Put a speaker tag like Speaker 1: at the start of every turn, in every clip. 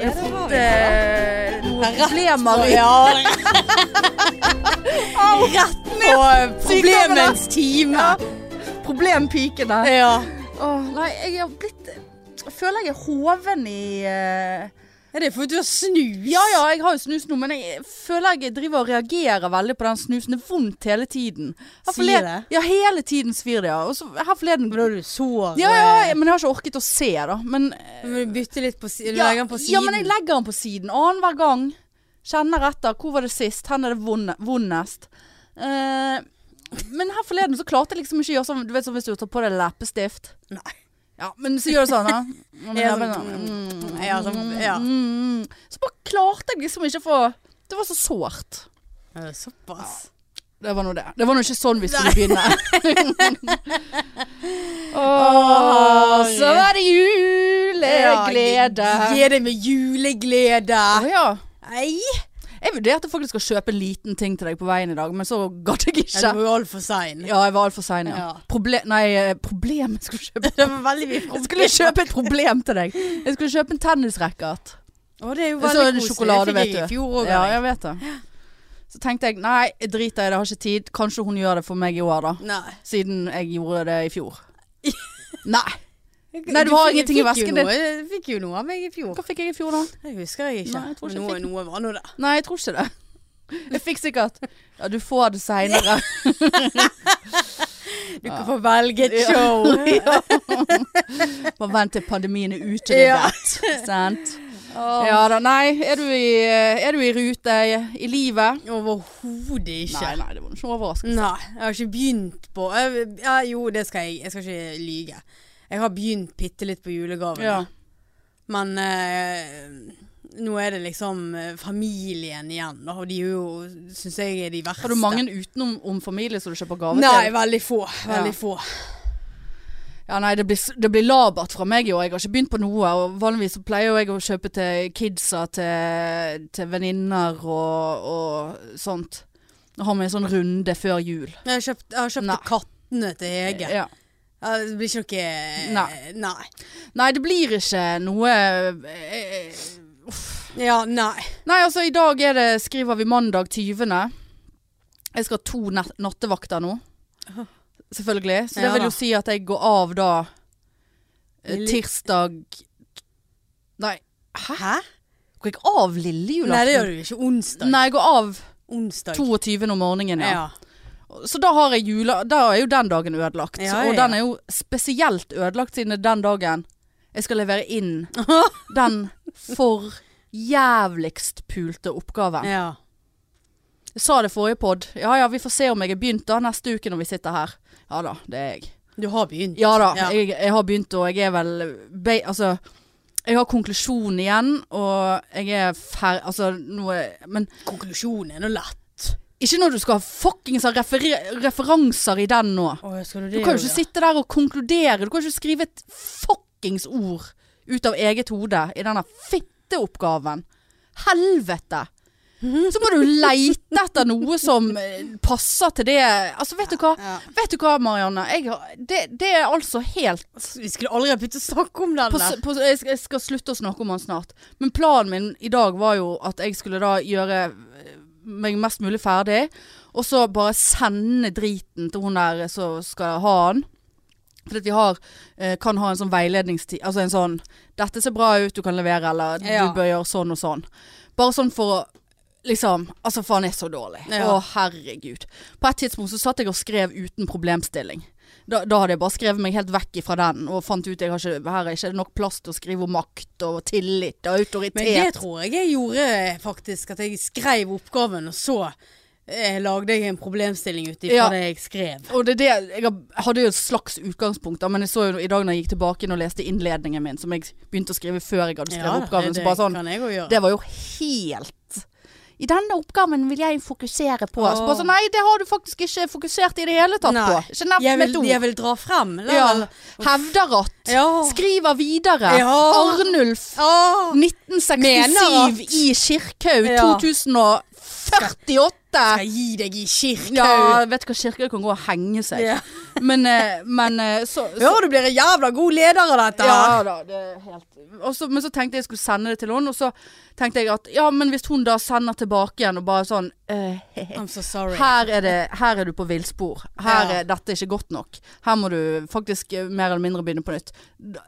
Speaker 1: Jeg har fått eh, noen problemer i
Speaker 2: Rett på problemets time. Eh,
Speaker 1: problempikene.
Speaker 2: Ja.
Speaker 1: Åh, nei, jeg har blitt Jeg føler jeg er hoven i eh,
Speaker 2: Er det fordi du har snus?
Speaker 1: Ja ja, jeg har jo snus nå, men jeg føler jeg driver og reagerer veldig på den snusen. Det er vondt hele tiden. Her
Speaker 2: Sier
Speaker 1: forleden-
Speaker 2: det?
Speaker 1: Ja, hele tiden svir det, ja. Og så her forleden
Speaker 2: Men da er du sår.
Speaker 1: ja, ja, jeg- men jeg har ikke orket å se, da. Men,
Speaker 2: Du Eh, må bytte litt på siden.
Speaker 1: ja,
Speaker 2: Legge den på siden.
Speaker 1: ja, men jeg legger den på siden annenhver gang. Kjenner etter. Hvor var det sist? Hvor er det vonde- vondest? Eh, men her forleden så klarte jeg liksom ikke å gjøre sånn Du vet sånn hvis du tar på deg leppestift.
Speaker 2: Nei.
Speaker 1: Ja, men så gjør du sånn, da.
Speaker 2: Ja, sånn, mm, ja, sånn, ja.
Speaker 1: Mm, mm. Så bare klarte jeg liksom ikke å få Det var så sårt.
Speaker 2: Eh, Såpass.
Speaker 1: Det var nå det. Det var nå ikke sånn vi skulle begynne.
Speaker 2: Å,
Speaker 1: Åh, så er det juleglede.
Speaker 2: Gi det med juleglede.
Speaker 1: Å ja.
Speaker 2: Nei.
Speaker 1: Jeg vurderte faktisk å kjøpe en liten ting til deg på veien i dag, men så gadd jeg
Speaker 2: Ja, det
Speaker 1: ikke.
Speaker 2: var jo altfor sein.
Speaker 1: Ja, jeg var altfor sein, ja.
Speaker 2: Ja.
Speaker 1: Proble nei, eh, problem jeg skulle, kjøpe.
Speaker 2: Det var veldig mye
Speaker 1: jeg skulle kjøpe et problem til deg. Jeg skulle kjøpe en tennisracket.
Speaker 2: Å, det er jo
Speaker 1: Jeg så
Speaker 2: veldig
Speaker 1: en
Speaker 2: koselig.
Speaker 1: sjokolade,
Speaker 2: det
Speaker 1: vet
Speaker 2: fikk jeg i
Speaker 1: du.
Speaker 2: fjor òg.
Speaker 1: Ja, jeg vet det. Så tenkte jeg nei, jeg driter i det, jeg har ikke tid. Kanskje hun gjør det for meg i år, da.
Speaker 2: Nei.
Speaker 1: Siden jeg gjorde det i fjor. Nei. Nei, du har
Speaker 2: fikk-
Speaker 1: ingenting i
Speaker 2: fikk jo
Speaker 1: vesken din.
Speaker 2: noe- Jeg fikk jo noe av meg i fjor.
Speaker 1: Hva fikk jeg i fjor, da?
Speaker 2: Det husker jeg ikke.
Speaker 1: Nei, jeg tror ikke
Speaker 2: Men
Speaker 1: jeg
Speaker 2: noe, noe var nå det.
Speaker 1: Nei, jeg tror ikke det. Jeg fikk sikkert Ja, du får det seinere.
Speaker 2: Du kan få velge et
Speaker 1: Ja.
Speaker 2: show.
Speaker 1: Bare vent til pandemien er
Speaker 2: Ja.
Speaker 1: utryddet. Sant? Ja da, nei. Er du i, eh, er du i rute i, i livet?
Speaker 2: Overhodet ikke.
Speaker 1: Nei, nei, det var ikke noe overraskelse.
Speaker 2: Nei, jeg har ikke begynt på jeg, ja, Jo, det skal jeg. Jeg skal ikke lyge. Jeg har begynt bitte litt på julegavene.
Speaker 1: Ja.
Speaker 2: Men eh, nå er det liksom eh, familien igjen, da. Og de er jo, syns jeg, er de verste.
Speaker 1: Har du mange utenom om familie som du kjøper gave
Speaker 2: Nei,
Speaker 1: til?
Speaker 2: veldig få. Veldig
Speaker 1: Ja.
Speaker 2: få.
Speaker 1: Ja, nei, det blir, s- det blir labert fra meg i år. Jeg har ikke begynt på noe. Og vanligvis så pleier jo jeg å kjøpe til kidsa, til, til venninner og, og sånt. Nå har vi en sånn runde før jul.
Speaker 2: Jeg har kjøpt, jeg har kjøpt
Speaker 1: Nei.
Speaker 2: til kattene til Hege.
Speaker 1: Ja.
Speaker 2: Ja, Det blir ikke noe eh,
Speaker 1: Nei.
Speaker 2: nei.
Speaker 1: Nei, det blir ikke noe eh,
Speaker 2: Ja, nei.
Speaker 1: Nei, altså i dag er det, skriver vi mandag 20. Jeg skal ha to nat- nattevakter nå. Selvfølgelig. Så det
Speaker 2: Ja
Speaker 1: vil
Speaker 2: da.
Speaker 1: jo si at jeg går av da eh,
Speaker 2: Lille-
Speaker 1: tirsdag Nei,
Speaker 2: Hæ?
Speaker 1: går jeg av lille julaften?
Speaker 2: Nei, det gjør du ikke. Onsdag.
Speaker 1: Nei, jeg går av
Speaker 2: Onsdag.
Speaker 1: 22. om morgenen, ja.
Speaker 2: Ja.
Speaker 1: Så da, har jeg jula, da er jo den dagen ødelagt.
Speaker 2: Ja,
Speaker 1: Og
Speaker 2: ja.
Speaker 1: den er jo spesielt ødelagt siden det er den dagen jeg skal levere inn den for jævligst pulte oppgaven.
Speaker 2: ja.
Speaker 1: Jeg sa det forrige pod. Ja ja, vi får se om jeg har begynt da neste uke når vi sitter her. Ja da, det er jeg.
Speaker 2: Du har begynt.
Speaker 1: Ja da,
Speaker 2: Ja.
Speaker 1: Jeg, jeg har begynt og jeg er vel be, Altså, jeg har konklusjon igjen og jeg er fer... Altså, nå er Men
Speaker 2: Konklusjonen er nå lett.
Speaker 1: ikke når du skal ha fuckings ha referer- referanser i den nå.
Speaker 2: Å, skal
Speaker 1: Du kan jo ikke sitte der og konkludere. Du kan jo ikke skrive et fuckings ord ut av eget hode i denne fitteoppgaven. Helvete!
Speaker 2: Mhm,
Speaker 1: Så må du leite etter noe som eh, passer til det Altså, vet du hva?
Speaker 2: Ja.
Speaker 1: Vet du hva, Marianne? Jeg, har- det, det er altså helt
Speaker 2: Vi skulle aldri ha begynt å snakke om den
Speaker 1: på, s-
Speaker 2: der.
Speaker 1: på, s- jeg, skal, jeg skal slutte å snakke om han snart. Men planen min i dag var jo at jeg skulle da gjøre eh, meg mest mulig ferdig. Og så bare sende driten til hun der som skal ha han. Fordi at vi har, eh, kan ha en sånn veiledningstid. Altså en sånn 'Dette ser bra ut, du kan levere', eller 'Du
Speaker 2: Ja.
Speaker 1: bør gjøre sånn og sånn'. Bare sånn for å Liksom, altså faen jeg er så dårlig.
Speaker 2: Ja.
Speaker 1: Å herregud. På et tidspunkt så satt jeg og skrev uten problemstilling. Da, da hadde jeg bare skrevet meg helt vekk ifra den, og fant ut jeg har ikke, her er ikke nok plass til å skrive om makt og tillit og autoritet.
Speaker 2: Men det tror jeg jeg gjorde faktisk. At jeg skrev oppgaven, og så eh, lagde jeg en problemstilling ut ifra
Speaker 1: Ja.
Speaker 2: det jeg skrev.
Speaker 1: og det er det, jeg har- hadde jo et slags utgangspunkt, da, men jeg så jo i dag når jeg gikk tilbake inn og leste innledningen min, som jeg begynte å skrive før jeg hadde skrevet oppgaven, så bare sånn
Speaker 2: kan jeg òg gjøre.
Speaker 1: Det var jo helt I denne oppgaven vil jeg fokusere på. Så bare
Speaker 2: Åh.
Speaker 1: sånn, nei, det har du faktisk ikke fokusert i det hele tatt
Speaker 2: Nei.
Speaker 1: på. Ikke nevnt
Speaker 2: jeg,
Speaker 1: med et
Speaker 2: vil,
Speaker 1: ord.
Speaker 2: jeg vil dra frem. La,
Speaker 1: Ja. Hevder at.
Speaker 2: Ja.
Speaker 1: Skriver videre.
Speaker 2: Ja.
Speaker 1: Arnulf.
Speaker 2: Åh.
Speaker 1: 19 1967
Speaker 2: Mener at-
Speaker 1: i Kirkhaug.
Speaker 2: Ja.
Speaker 1: 2048!
Speaker 2: Skal jeg gi deg i kirkhaug.
Speaker 1: Ja, vet du hva, Kirkhaug kan gå og henge seg.
Speaker 2: Ja.
Speaker 1: Men, eh, men eh, så, så
Speaker 2: Hører du blir en jævla god leder av dette.
Speaker 1: Ja da, det er helt og så, Men så tenkte jeg jeg skulle sende det til henne, og så tenkte jeg at ja, men hvis hun da sender tilbake igjen og bare sånn eh,
Speaker 2: I'm so sorry.
Speaker 1: her er, det, her er du på villspor. Her
Speaker 2: Ja.
Speaker 1: er dette er ikke godt nok. Her må du faktisk eh, mer eller mindre begynne på nytt. Da-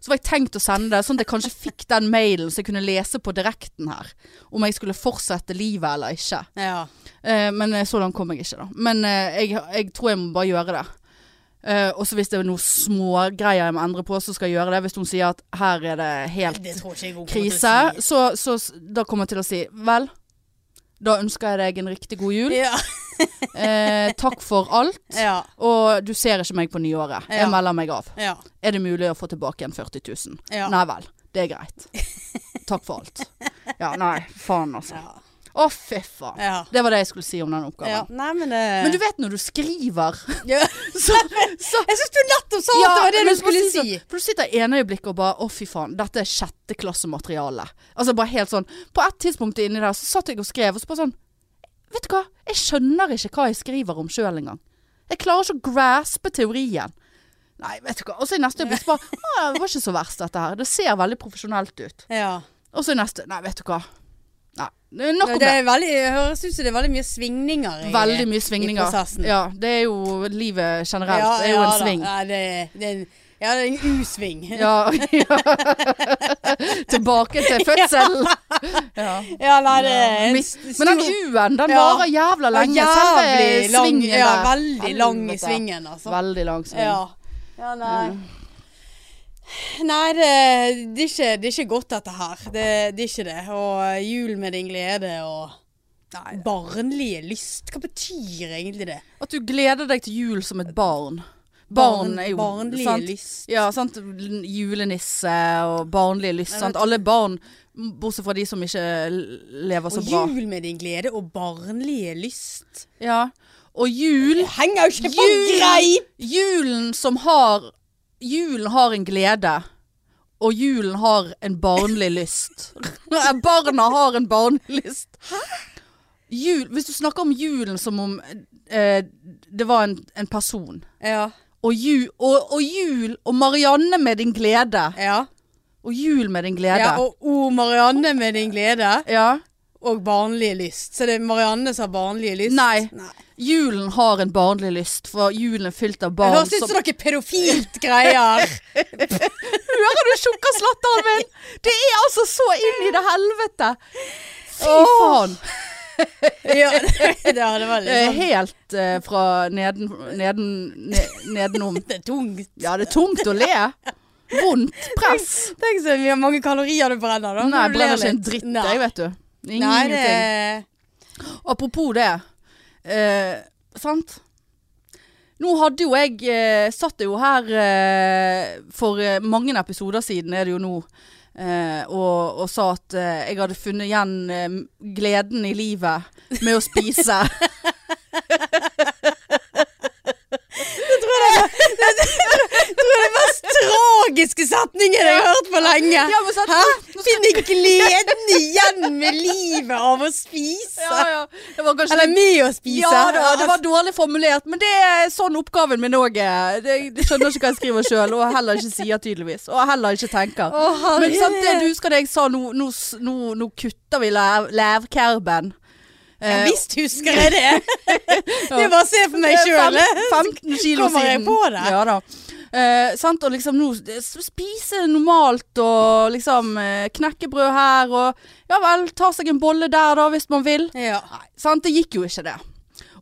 Speaker 1: Så var jeg tenkt å sende det, sånn at jeg kanskje fikk den mailen så jeg kunne lese på direkten her. Om jeg skulle fortsette livet eller ikke.
Speaker 2: Ja.
Speaker 1: Eh, men eh, så langt kom jeg ikke, da. Men eh, jeg, jeg tror jeg må bare gjøre det. Eh, og så hvis det er noen smågreier jeg må endre på, så skal jeg gjøre det. Hvis hun sier at her er det helt
Speaker 2: Det tror ikke jeg hun kommer til å
Speaker 1: krise,
Speaker 2: si.
Speaker 1: så, så s- da kommer jeg til å si vel, da ønsker jeg deg en riktig god jul.
Speaker 2: Ja.
Speaker 1: Eh, takk for alt.
Speaker 2: ja.
Speaker 1: Og du ser ikke meg på nyåret.
Speaker 2: Ja.
Speaker 1: Jeg melder meg av.
Speaker 2: Ja.
Speaker 1: Er det mulig å få tilbake igjen 40 000?
Speaker 2: Ja.
Speaker 1: Nei vel. Det er greit. Takk for alt. Ja, nei, faen altså.
Speaker 2: Ja.
Speaker 1: Å, fy faen.
Speaker 2: ja.
Speaker 1: Det var det jeg skulle si om den oppgaven.
Speaker 2: ja. Nei, men det
Speaker 1: Men du vet når du skriver
Speaker 2: ja.
Speaker 1: så, så,
Speaker 2: Jeg syns du nettopp sa at det var det
Speaker 1: men
Speaker 2: du skulle
Speaker 1: bare
Speaker 2: si.
Speaker 1: sånn- For du sitter ene øyeblikket og bare Å fy faen, dette er sjette klassemateriale Altså bare helt sånn På et tidspunkt inni der så satt jeg og skrev Og så bare sånn Vet du hva, jeg skjønner ikke hva jeg skriver om selv engang Jeg klarer ikke å graspe teorien Nei, vet du hva Og så i neste øyeblikk så bare Å, det var ikke så verst dette her Det ser veldig profesjonelt ut
Speaker 2: Ja.
Speaker 1: Og så i neste Nei, vet du hva Nei, nok om
Speaker 2: Det
Speaker 1: det
Speaker 2: er veldig, det høres ut som det er veldig mye svingninger. i-
Speaker 1: Veldig mye
Speaker 2: I
Speaker 1: svingninger
Speaker 2: prosessen.
Speaker 1: Ja, det er jo livet generelt Det er jo
Speaker 2: ja
Speaker 1: en
Speaker 2: da.
Speaker 1: sving
Speaker 2: Ja, det, det er en, ja, det er en U-sving. Ja.
Speaker 1: Ja, ja. Tilbake til fødsel. Ja.
Speaker 2: nei, det er en
Speaker 1: Mitt-
Speaker 2: st-
Speaker 1: Men den
Speaker 2: Eh, stor-
Speaker 1: U-en, den
Speaker 2: Ja.
Speaker 1: varer jævla lenge.
Speaker 2: Jævlig
Speaker 1: Selve
Speaker 2: lang,
Speaker 1: svingen
Speaker 2: ja,
Speaker 1: der.
Speaker 2: veldig lang i
Speaker 1: Helvete.
Speaker 2: svingen, altså.
Speaker 1: Veldig lang sving.
Speaker 2: Ja. ja, nei. Nei, det, det, er ikke, det er ikke godt dette her. Det, det er ikke det. Og jul med din glede og barnlige lyst. Hva betyr egentlig det?
Speaker 1: At du gleder deg til jul som et barn. Barn er jo
Speaker 2: Barnlige
Speaker 1: sant?
Speaker 2: lyst.
Speaker 1: Ja, sant. L- Julenisse og barnlige lyst.
Speaker 2: Jeg
Speaker 1: Sant?
Speaker 2: vet-
Speaker 1: Alle barn, m- bortsett fra de som ikke l- lever så
Speaker 2: Og
Speaker 1: bra.
Speaker 2: jul med din glede og barnlige lyst.
Speaker 1: Ja. Og jul
Speaker 2: Det henger jo ikke på
Speaker 1: Jul-
Speaker 2: greip!
Speaker 1: Julen som har Julen har en glede Og julen har en barnlig lyst Nei, Barna har en barnlig lyst Jul, Hvis du snakker om julen som om eh, Det var en, en person
Speaker 2: Ja.
Speaker 1: og jul, og, og jul Og Marianne med din glede
Speaker 2: ja.
Speaker 1: Og jul med din glede
Speaker 2: ja og O Marianne med din glede
Speaker 1: Ja.
Speaker 2: og barnlige lyst. Så det er Marianne som har barnlige lyst?
Speaker 1: Nei.
Speaker 2: Nei.
Speaker 1: Julen har en barnlig lyst For julen er fylt av
Speaker 2: Det
Speaker 1: barn
Speaker 2: høres ut som noe pedofilt greier.
Speaker 1: Hører du tjukka slatteren min? Det er altså så inn i det helvete. Fy
Speaker 2: Åh.
Speaker 1: faen.
Speaker 2: ja, ja, det var
Speaker 1: Det er
Speaker 2: litt sånn
Speaker 1: Helt eh, fra neden, neden, ne, nedenom.
Speaker 2: Det er sånn tungt.
Speaker 1: Ja, det er tungt å le. Vondt press.
Speaker 2: Tenk så mye- mange kalorier du brenner, da.
Speaker 1: Nei,
Speaker 2: Når
Speaker 1: jeg
Speaker 2: du ler
Speaker 1: brenner ikke en
Speaker 2: litt.
Speaker 1: dritt,
Speaker 2: Nei.
Speaker 1: jeg, vet du.
Speaker 2: Nei,
Speaker 1: Ingenting.
Speaker 2: det
Speaker 1: Apropos det. Eh, sant? Nå hadde jo jeg eh, Satt jo her eh, for eh, mange episoder siden, er det jo nå, eh, og, og sa at eh, jeg hadde funnet igjen eh, gleden i livet med å spise.
Speaker 2: Tragiske setningen jeg har hørt på lenge.
Speaker 1: ja, men sant?
Speaker 2: Hæ? Finne gleden igjen med livet av å spise.
Speaker 1: Ja, ja. Det var kanskje
Speaker 2: Eller med å spise.
Speaker 1: Ja da, det var dårlig formulert, men det er sånn oppgaven min òg er. Jeg skjønner ikke hva jeg skriver sjøl, og heller ikke sier tydeligvis. Og heller ikke tenker.
Speaker 2: Å, herregud.
Speaker 1: Men sant, det du husker det jeg sa, nå, nå, s- nå, nå kutter vi Eh, læv- lærkerben.
Speaker 2: Ja, Visst husker jeg det. Det er bare å se for meg
Speaker 1: Eh,
Speaker 2: sjøl.
Speaker 1: fem- 15 kilo
Speaker 2: kommer jeg
Speaker 1: siden.
Speaker 2: på det.
Speaker 1: Ja da. Eh, sant, og liksom nå s- spise normalt og liksom eh, knekkebrød her og ja vel, ta seg en bolle der da hvis man vil.
Speaker 2: Ja.
Speaker 1: Nei, sant? det gikk jo ikke det.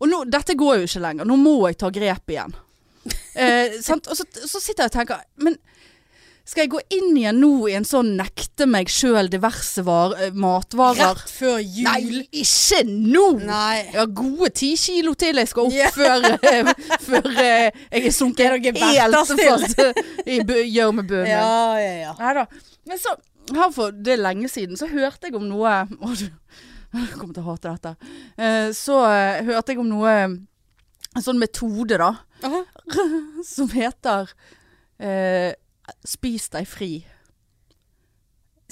Speaker 1: Og nå, dette går jo ikke lenger, nå må jeg ta grep igjen. Eh, sant? Og så, så sitter jeg og tenker, men skal jeg gå inn igjen nå i en sånn nekte meg sjøl diverse var, eh, matvarer?
Speaker 2: Rett før jul.
Speaker 1: Nei, ikke nå!
Speaker 2: Nei.
Speaker 1: Jeg har gode ti kilo til jeg skal opp
Speaker 2: Ja.
Speaker 1: før, eh, før eh, jeg er
Speaker 2: Er
Speaker 1: sunket
Speaker 2: dere
Speaker 1: helt
Speaker 2: berter stille?
Speaker 1: fast i bu- gjørmebunnen.
Speaker 2: Ja, ja, ja.
Speaker 1: Nei da. Men så, her for det er lenge siden, så hørte jeg om noe Å, du jeg kommer til å hate dette. Eh, så eh, hørte jeg om noe En sånn metode, da,
Speaker 2: Aha.
Speaker 1: som heter eh, Spis deg fri.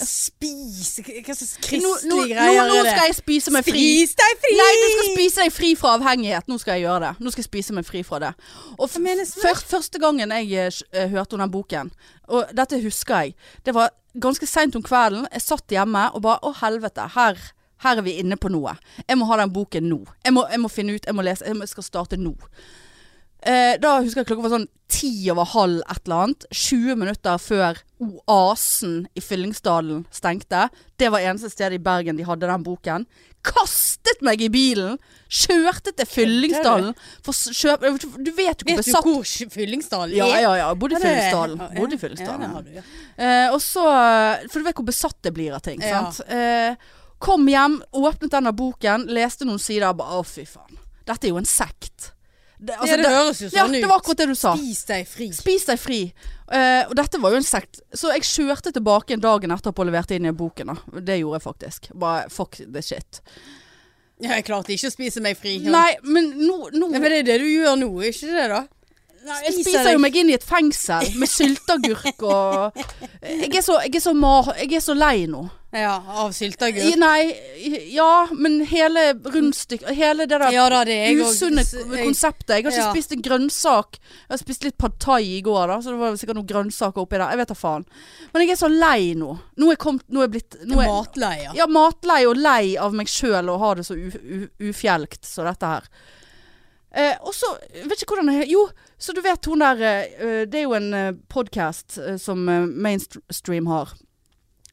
Speaker 2: spise Hva slags
Speaker 1: Nå, nå,
Speaker 2: kristelige
Speaker 1: nå,
Speaker 2: greier
Speaker 1: nå
Speaker 2: er det?
Speaker 1: skal jeg spise meg fri.
Speaker 2: Spis deg fri!
Speaker 1: Nei, du skal spise deg fri fra avhengighet. Nå skal jeg gjøre det. Nå skal jeg spise meg fri fra det. Og f-
Speaker 2: Hva menes med
Speaker 1: før- første gangen jeg eh, s- eh, hørte om den boken, og dette husker jeg, det var ganske seint om kvelden. Jeg satt hjemme og bare Å, helvete. Her, her er vi inne på noe. Jeg må ha den boken nå. Jeg må, jeg må finne ut, jeg må lese. Jeg må- skal starte nå. Eh, da husker jeg klokka var sånn ti over halv et eller annet. 20 minutter før oasen i Fyllingsdalen stengte. Det var eneste stedet i Bergen de hadde den boken. Kastet meg i bilen! Kjørte til Fyllingsdalen. For s- kjøp, du vet jo hvor
Speaker 2: Vet du
Speaker 1: besatt
Speaker 2: hvor Fyllingsdalen
Speaker 1: ja,
Speaker 2: er?
Speaker 1: ja, ja. Bodde i
Speaker 2: Ja, det-
Speaker 1: Fyllingsdalen.
Speaker 2: ja,
Speaker 1: Bodde i
Speaker 2: Ja,
Speaker 1: Fyllingsdalen.
Speaker 2: det har du, ja.
Speaker 1: Eh, og så For du vet hvor besatt det blir av ting.
Speaker 2: Ja.
Speaker 1: Sant? Eh, kom hjem, åpnet denne boken, leste noen sider og bare Å, fy faen. Dette er jo en sekt. Altså, Det,
Speaker 2: Ja, det høres jo
Speaker 1: ja,
Speaker 2: sånn ut.
Speaker 1: det var akkurat det du sa.
Speaker 2: Spis deg fri.
Speaker 1: Spis deg fri. Eh, og dette var jo en sekt. Så jeg kjørte tilbake dagen etterpå og leverte inn i boken. Da. Det gjorde jeg faktisk. Bare fuck the shit.
Speaker 2: Ja, jeg klarte ikke å spise meg fri. ja.
Speaker 1: Nei, men nå, nå
Speaker 2: Ja, men det er det du gjør nå, ikke det da?
Speaker 1: Jeg spiser jo meg inn i et fengsel med sylteagurk og jeg er, så, jeg, er så mar jeg er så lei nå.
Speaker 2: Ja, av
Speaker 1: I-
Speaker 2: sylteagurk.
Speaker 1: Nei, ja, men hele rundstykket Hele det der
Speaker 2: Ja da, det er jeg også.
Speaker 1: usunne
Speaker 2: Så jeg-
Speaker 1: konseptet. Jeg har ikke
Speaker 2: Ja.
Speaker 1: spist en grønnsak. Jeg har spist litt pad thai i går, da, så det var sikkert noen grønnsaker oppi der. Jeg vet da faen. Men jeg er så lei nå. Nå er jeg, kommet- nå er jeg blitt nå er,
Speaker 2: Matleie.
Speaker 1: ja, matlei og lei av meg sjøl og har det så u, u, ufjelkt som dette her. Eh, og så jeg Vet ikke hvordan jeg Jo, så du vet hun der eh, eh, Det er jo en eh, podkast eh, som eh, Mainstream har.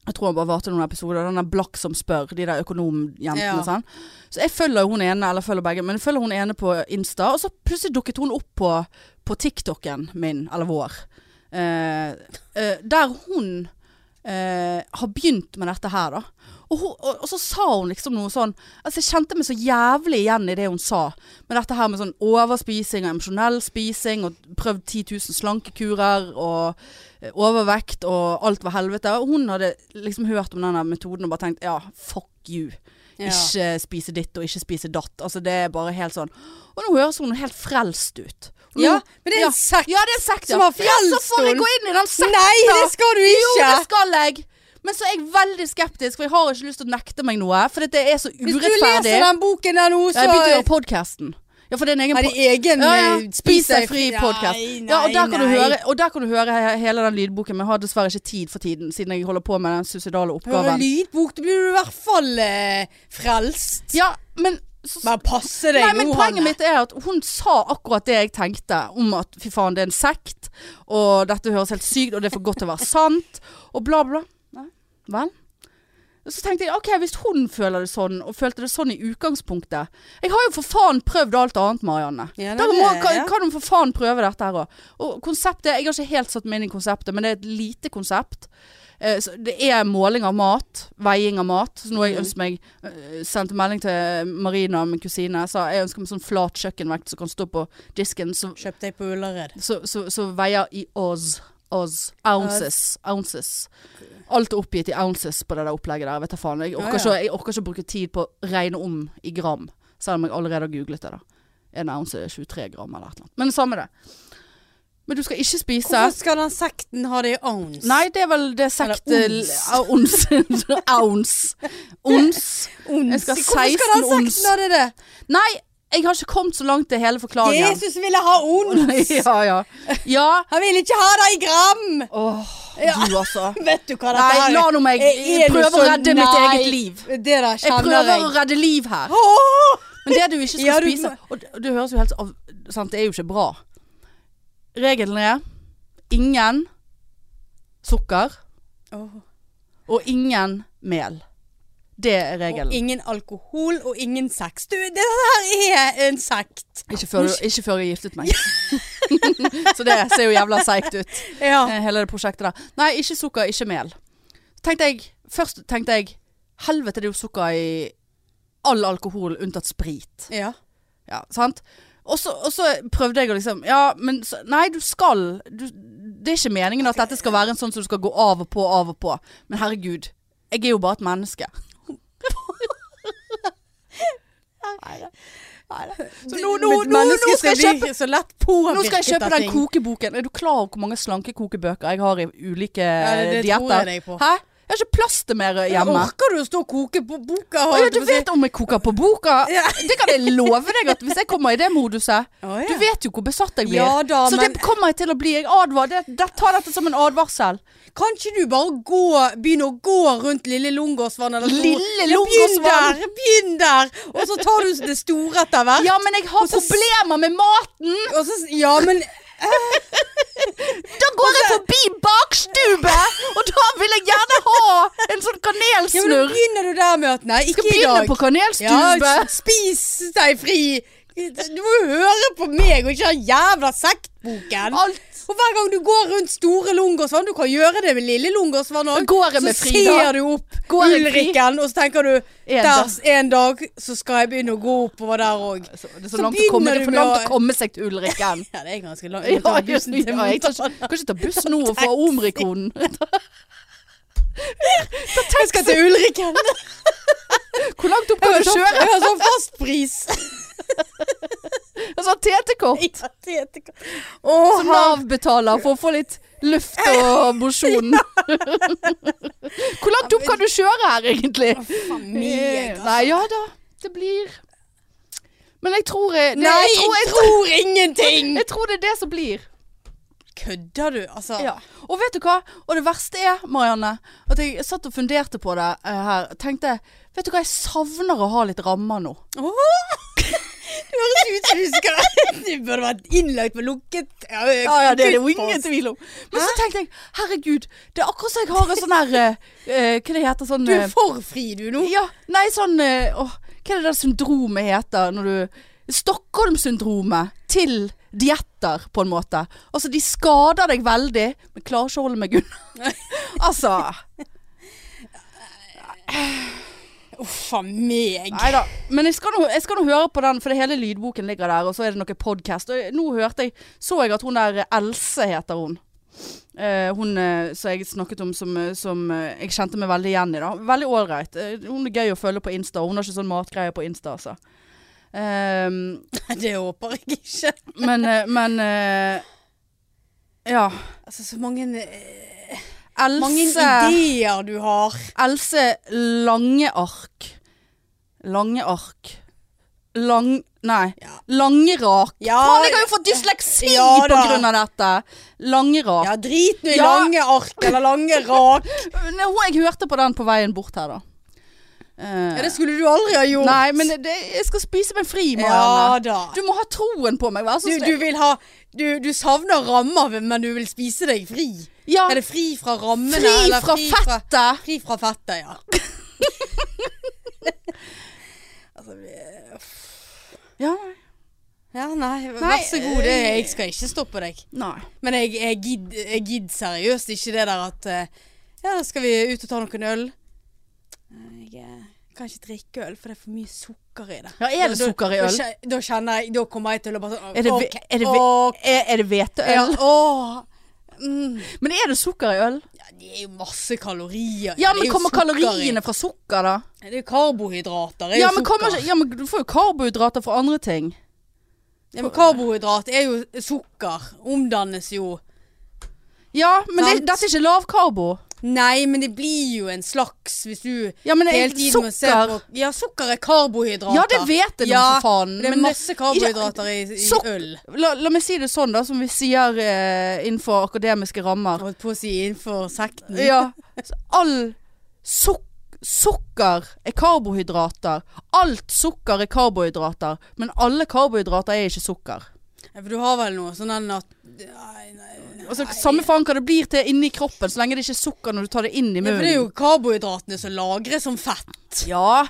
Speaker 1: Jeg tror han bare varte noen episoder. Den der Blakk som spør, de der økonomjentene.
Speaker 2: Ja.
Speaker 1: Sånn. Så jeg følger jo hun ene, eller følger begge, men jeg følger hun ene på Insta. Og så plutselig dukket hun opp på, på TikToken min, eller vår. Eh, eh, der hun eh, har begynt med dette her, da. Og, hun, og, og så sa hun liksom noe sånn Altså, jeg kjente meg så jævlig igjen i det hun sa. Med dette her med sånn overspising og emosjonell spising, og prøvd 10 000 slankekurer, og eh, overvekt og alt var helvete. Og hun hadde liksom hørt om denne metoden og bare tenkt ja, fuck you.
Speaker 2: Ja.
Speaker 1: Ikke spise ditt og ikke spise datt. Altså, det er bare helt sånn. Og nå høres hun helt frelst ut. Og nå-
Speaker 2: Ja, men det er en sekt
Speaker 1: ja, det er en sekt
Speaker 2: som
Speaker 1: ja.
Speaker 2: har frelst
Speaker 1: Ja, så får jeg
Speaker 2: henne.
Speaker 1: gå inn i den sekta!
Speaker 2: Nei, det skal du
Speaker 1: Jo,
Speaker 2: ikke!
Speaker 1: det skal jeg. Men så er jeg veldig skeptisk, for jeg har ikke lyst til å nekte meg noe. For dette er så
Speaker 2: Hvis
Speaker 1: urettferdig.
Speaker 2: du leser den boken der nå,
Speaker 1: Ja,
Speaker 2: så
Speaker 1: Jeg begynte å gjøre podkasten. Ja, for det er en egen
Speaker 2: er det
Speaker 1: pod-
Speaker 2: egen
Speaker 1: ja, ja.
Speaker 2: eh,
Speaker 1: Spis deg fri podcast
Speaker 2: Nei,
Speaker 1: Ja, og der,
Speaker 2: nei,
Speaker 1: kan du
Speaker 2: nei.
Speaker 1: høre, og der kan du høre he- hele den lydboken, men jeg har dessverre ikke tid for tiden, siden jeg holder på med den suicidale
Speaker 2: Hører
Speaker 1: oppgaven.
Speaker 2: lydbok, da blir du i hvert fall eh, frelst.
Speaker 1: Ja, men så,
Speaker 2: Bare passe deg
Speaker 1: Nei, men
Speaker 2: nå,
Speaker 1: poenget mitt er at hun sa akkurat det jeg tenkte om at fy faen, det er en sekt, og dette høres helt sykt, og det er for godt til å være sant, og bla bla. Nei, vel. Og Så tenkte jeg, ok, hvis hun føler det sånn, og følte det sånn i utgangspunktet Jeg har jo for faen prøvd alt annet, Marianne.
Speaker 2: Ja, nei,
Speaker 1: da må,
Speaker 2: det-
Speaker 1: kan,
Speaker 2: ja.
Speaker 1: kan hun for faen prøve dette her òg. Og konseptet Jeg har ikke helt satt meg inn i konseptet, men det er et lite konsept. Eh, så Det er måling av mat, veiing av mat. Så nå har jeg
Speaker 2: Mhm.
Speaker 1: ønsket meg eh, Sendte melding til Marina, min kusine, sa jeg ønsker meg sånn flat kjøkkenvekt som kan stå på disken, så,
Speaker 2: Kjøp deg på Ullared.
Speaker 1: så, så, så veier i Oz. Oz. Ounces. Ounces. Alt er oppgitt i ounces på det der opplegget der. Jeg Vet da faen. Jeg orker,
Speaker 2: Ja, ja.
Speaker 1: Ikke, jeg orker ikke å bruke tid på å regne om i gram, selv om jeg allerede har googlet det. da En ounce er 23 gram eller et eller annet. Men samme det. Men du skal ikke spise
Speaker 2: Hvorfor skal den sekten ha det i ounce?
Speaker 1: Nei, det er vel det sekt
Speaker 2: Eller
Speaker 1: Ons. Ons. Ons.
Speaker 2: Ons.
Speaker 1: Jeg skal ha
Speaker 2: Hvorfor skal
Speaker 1: 16
Speaker 2: den
Speaker 1: ons.
Speaker 2: sekten ha det det?
Speaker 1: Nei, jeg har ikke kommet så langt til hele forklaringen.
Speaker 2: Jesus ville ha ons!
Speaker 1: ja, ja. ja.
Speaker 2: Han ville ikke ha det i gram!
Speaker 1: Åh,
Speaker 2: Ja.
Speaker 1: du altså.
Speaker 2: Vet du hva dette
Speaker 1: Nei,
Speaker 2: her er?
Speaker 1: la nå meg-
Speaker 2: Er- er du
Speaker 1: prøve å
Speaker 2: så-
Speaker 1: redde mitt
Speaker 2: Nei.
Speaker 1: eget liv.
Speaker 2: Det der
Speaker 1: Jeg
Speaker 2: kjenner
Speaker 1: prøver å
Speaker 2: jeg.
Speaker 1: redde liv her.
Speaker 2: Åh!
Speaker 1: Men det du ikke skal
Speaker 2: Ja, du-
Speaker 1: spise Og det, og det høres jo helt av, sant, det er jo ikke bra. Regelen er ingen sukker og ingen mel. Det er
Speaker 2: Og
Speaker 1: regelen.
Speaker 2: ingen alkohol og ingen sex. Du, det her er en sekt.
Speaker 1: Ikke før, du- ikke før jeg giftet meg. så det ser jo jævla seigt ut,
Speaker 2: Ja.
Speaker 1: eh, hele det prosjektet der. Nei, ikke sukker, ikke mel. Tenkte jeg, først tenkte jeg Helvete, det er jo sukker i all alkohol unntatt sprit.
Speaker 2: ja.
Speaker 1: Ja, sant? Og så, og så prøvde jeg å liksom Ja, men så, Nei, du skal du, Det er ikke meningen at dette skal være en sånn som du skal gå av og på, av og på. Men herregud, jeg er jo bare et menneske. Så nå, nå,
Speaker 2: Men
Speaker 1: nå,
Speaker 2: mennesker
Speaker 1: nå skal jeg kjøpe
Speaker 2: bli så lett påvirket
Speaker 1: Nå skal jeg kjøpe
Speaker 2: av
Speaker 1: den
Speaker 2: ting.
Speaker 1: kokeboken. Er du klar over hvor mange slankekokebøker jeg har i ulike eh,
Speaker 2: Ja, det- det tror jeg
Speaker 1: dietter?
Speaker 2: deg på.
Speaker 1: Hæ? Jeg har ikke plass til mer eh, hjemme.
Speaker 2: Orker du å stå og koke på boka?
Speaker 1: Og jeg, du vet om jeg koker på boka.
Speaker 2: Ja.
Speaker 1: Det kan jeg love deg at hvis jeg kommer i det moduset Du vet jo hvor besatt jeg blir.
Speaker 2: Ja da,
Speaker 1: så
Speaker 2: men-
Speaker 1: det kommer jeg til å bli. Jeg advarer. Det, det, ta dette som en advarsel.
Speaker 2: Kan ikke du bare gå, begynne å gå rundt Lille Lungåsvann? eller noe?
Speaker 1: Lille
Speaker 2: Ja,
Speaker 1: Lungåsvann?
Speaker 2: begynn der! Begynn der! Og så tar du det store etter hvert.
Speaker 1: Ja, men jeg har
Speaker 2: så-
Speaker 1: problemer med maten!
Speaker 2: Og så, ja, men
Speaker 1: Da går jeg forbi bakstube, og da vil jeg gjerne ha en sånn
Speaker 2: Ja, men da
Speaker 1: kanelsnurr.
Speaker 2: begynner du der med at Nei,
Speaker 1: Skal
Speaker 2: ikke i
Speaker 1: begynne
Speaker 2: dag.
Speaker 1: på kanelstube.
Speaker 2: ja, spis deg fri! Du må jo høre på meg og ikke den jævla sektboken.
Speaker 1: Alt.
Speaker 2: Og hver gang du går rundt Store Lungåsvann, du kan gjøre det med Lille Lungåsvann òg,
Speaker 1: Går jeg
Speaker 2: så
Speaker 1: med fri da?
Speaker 2: ser du opp
Speaker 1: Går jeg fri?
Speaker 2: Ulrikken, og så tenker du
Speaker 1: En
Speaker 2: der,
Speaker 1: dag.
Speaker 2: en dag så skal jeg begynne å gå oppover der òg.
Speaker 1: Så, det er
Speaker 2: Så
Speaker 1: så langt å komme,
Speaker 2: begynner
Speaker 1: det er for
Speaker 2: du med
Speaker 1: langt å
Speaker 2: å-
Speaker 1: komme seg til Ulrikken.
Speaker 2: Ja, det er ganske langt.
Speaker 1: Ja,
Speaker 2: Jeg må ta
Speaker 1: jeg, jeg,
Speaker 2: bussen til
Speaker 1: tar ikke- kan ikke ta buss nå og få Omrikoden.
Speaker 2: Jeg skal til Ulrikken.
Speaker 1: Hvor langt opp
Speaker 2: Jeg
Speaker 1: kan
Speaker 2: har
Speaker 1: du
Speaker 2: så-
Speaker 1: kjøre?
Speaker 2: jeg har sånn fastpris.
Speaker 1: Altså TT-kort.
Speaker 2: Ja, det er ikke- Åh,
Speaker 1: Som Nav betaler for å få litt luft og mosjon. Hvor langt opp kan du kjøre her, egentlig?
Speaker 2: familie, altså.
Speaker 1: Nei, ja da. Det blir Men jeg tror jeg, det,
Speaker 2: Nei,
Speaker 1: jeg, tror,
Speaker 2: jeg
Speaker 1: jeg,
Speaker 2: tror ingenting!
Speaker 1: jeg tror det er det som blir.
Speaker 2: Kødder du, altså?
Speaker 1: Ja. Og vet du hva? Og det verste er, Marianne, at jeg satt og funderte på det eh, her. Tenkte Vet du hva, jeg savner å ha litt rammer nå.
Speaker 2: Det høres ut som du skal Du burde vært innlagt på lukket
Speaker 1: Ja, ja, det er det jo ingen tvil om. Men så tenkte jeg, herregud, det er akkurat som jeg har en sånn her eh, eh, Hva det heter sånn
Speaker 2: Du
Speaker 1: eh,
Speaker 2: er for fri, du nå.
Speaker 1: Ja, nei sånn eh, åh, Hva er det der syndromet heter når du Stockholm-syndromet til dietter, på en måte. Altså, de skader deg veldig, men klarer ikke å holde meg unna. altså.
Speaker 2: Uff a meg.
Speaker 1: Nei da. Men jeg skal, nå, jeg skal nå høre på den, for det hele lydboken ligger der, og så er det noe podkast. Og nå hørte jeg Så jeg at hun der Else heter hun. Eh, hun eh, som jeg snakket om som, eh, som eh, jeg kjente meg veldig igjen i. da Veldig ålreit. Eh, hun er gøy å følge på Insta. og Hun har ikke sånn matgreier på Insta, altså. Ehm,
Speaker 2: Det håper jeg ikke.
Speaker 1: men eh, men eh, Ja.
Speaker 2: Altså, så mange eh,
Speaker 1: Else
Speaker 2: Mange ideer du har.
Speaker 1: Else Langeark. Langeark. Lang... Nei.
Speaker 2: Ja.
Speaker 1: Langerak.
Speaker 2: Ja,
Speaker 1: Faen, jeg har jo fått dysleksi
Speaker 2: Ja
Speaker 1: på
Speaker 2: da.
Speaker 1: grunn av dette! Langerak.
Speaker 2: ja drit nå i
Speaker 1: Ja.
Speaker 2: lange ark eller lange rak.
Speaker 1: Nei, hun- Jeg hørte på den på veien bort her, da. Eh,
Speaker 2: Ja, det skulle du aldri ha gjort.
Speaker 1: Nei, men det, jeg skal spise meg fri,
Speaker 2: Ja
Speaker 1: Marianne.
Speaker 2: da.
Speaker 1: Du må ha troen på meg, vær så
Speaker 2: Du, du
Speaker 1: snill.
Speaker 2: vil ha du, du savner rammer, men du vil spise deg fri.
Speaker 1: Ja,
Speaker 2: Er det fri fra rammene?
Speaker 1: fri
Speaker 2: eller
Speaker 1: fra fettet!
Speaker 2: Fri fra fettet, ja. altså, vi-
Speaker 1: Ja, nei.
Speaker 2: ja, nei, vær
Speaker 1: Nei,
Speaker 2: så god. Det,
Speaker 1: eh,
Speaker 2: jeg skal ikke stoppe deg.
Speaker 1: nei.
Speaker 2: Men jeg, jeg gidder jeg gidd seriøst ikke det der at eh, Ja, skal vi ut og ta noen øl? Nei, Jeg eh, kan ikke drikke øl, for det er for mye sukker i det.
Speaker 1: Ja, er det
Speaker 2: Da-
Speaker 1: sukker i
Speaker 2: da-
Speaker 1: øl?
Speaker 2: Da, kje- da kjenner jeg Da kommer jeg til å bare sånn
Speaker 1: Er det, ve-
Speaker 2: ok,
Speaker 1: er det,
Speaker 2: ok,
Speaker 1: ve- er, er det hveteøl?
Speaker 2: ja, åh. Mm.
Speaker 1: Men er det sukker i øl?
Speaker 2: Ja, det er jo masse
Speaker 1: Ja,
Speaker 2: kalorier. det er
Speaker 1: men
Speaker 2: jo
Speaker 1: kommer
Speaker 2: sukker i-
Speaker 1: kaloriene fra sukker, da?
Speaker 2: Det er karbohydrater. Det er
Speaker 1: Ja
Speaker 2: jo
Speaker 1: men,
Speaker 2: sukker.
Speaker 1: kommer ikke, ja, men du får jo karbohydrater fra andre ting.
Speaker 2: Ja, men karbohydrat er jo sukker. Omdannes jo.
Speaker 1: Ja, men det,
Speaker 2: Sant.
Speaker 1: dette er ikke lavkarbo.
Speaker 2: Nei, men det blir jo en slags hvis du
Speaker 1: Ja, men jeg,
Speaker 2: hele tiden må se
Speaker 1: sukker
Speaker 2: på Ja, sukker er karbohydrater.
Speaker 1: Ja, det vet jeg nå,
Speaker 2: Ja,
Speaker 1: for faen.
Speaker 2: Det er
Speaker 1: men
Speaker 2: masse karbohydrater i, i
Speaker 1: Sukk-
Speaker 2: øl.
Speaker 1: la, la meg si det sånn, da, som vi sier eh, innenfor akademiske rammer.
Speaker 2: Holdt på å si innenfor sekten.
Speaker 1: Ja. så All suk sukker er karbohydrater. Alt sukker er karbohydrater. Men alle karbohydrater er ikke sukker.
Speaker 2: For du har vel noe sånn den at Nei, nei. nei.
Speaker 1: Altså, samme faen hva det blir til inni kroppen, så lenge det ikke er sukker når du tar det inn i
Speaker 2: Ja,
Speaker 1: munnen.
Speaker 2: for det er jo karbohydratene som lagres som fett.
Speaker 1: Ja.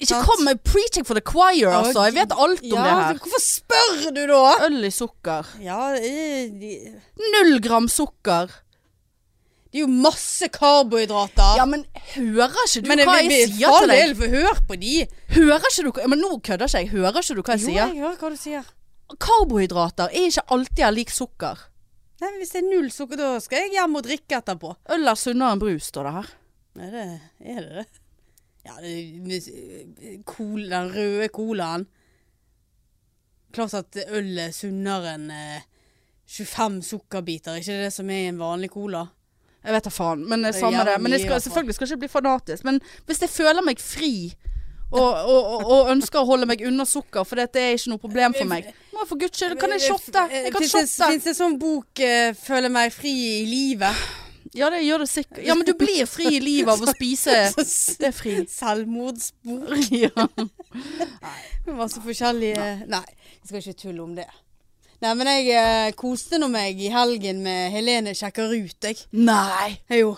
Speaker 1: Ikke
Speaker 2: Sant?
Speaker 1: kom med preaching for the choir, altså. Jeg vet alt om
Speaker 2: ja,
Speaker 1: det
Speaker 2: altså-
Speaker 1: her.
Speaker 2: så Hvorfor spør du da?
Speaker 1: Øl i sukker.
Speaker 2: Ja, eh, de-
Speaker 1: Null gram sukker.
Speaker 2: det er jo masse karbohydrater.
Speaker 1: Ja, men hører ikke du
Speaker 2: men
Speaker 1: hva
Speaker 2: jeg,
Speaker 1: jeg,
Speaker 2: jeg,
Speaker 1: sier til deg?
Speaker 2: Hør på de.
Speaker 1: Hører ikke du hva- Men nå kødder ikke jeg. Hører ikke du hva jeg sier?
Speaker 2: hører hva du sier.
Speaker 1: Karbohydrater er ikke alltid er lik sukker.
Speaker 2: Nei, men Hvis det er null sukker, da skal jeg hjem og drikke etterpå.
Speaker 1: Øl er sunnere enn brus, står det her.
Speaker 2: Er det er det? det? Ja, det, er- kol, den røde colaen Klart at øl er sunnere enn eh, 25 sukkerbiter. Er ikke det det som er i en vanlig cola?
Speaker 1: Jeg vet da faen, men det er samme
Speaker 2: Ja,
Speaker 1: det. Men jeg skal,
Speaker 2: mye, i hvert fall.
Speaker 1: selvfølgelig skal jeg ikke bli fanatisk. Men hvis jeg føler meg fri og, og, og, og ønsker å holde meg unna sukker, for det er ikke noe problem for meg Må jeg for guds skyld Kan jeg shotte? Jeg kan shotte.
Speaker 2: Fins Eh, det en sånn bok eh, 'Føler meg fri i livet'?
Speaker 1: Ja, det gjør det sikkert. Ja, men du blir fri i livet av å spise
Speaker 2: Så s-
Speaker 1: Det er fri.
Speaker 2: Selvmordsbok.
Speaker 1: Ja.
Speaker 2: Det var så forskjellige Nei, vi skal ikke tulle om det. Nei, men jeg eh, koste nå meg i helgen med Helene sjekker ut, jeg.
Speaker 1: Nei!
Speaker 2: Jeg Jo.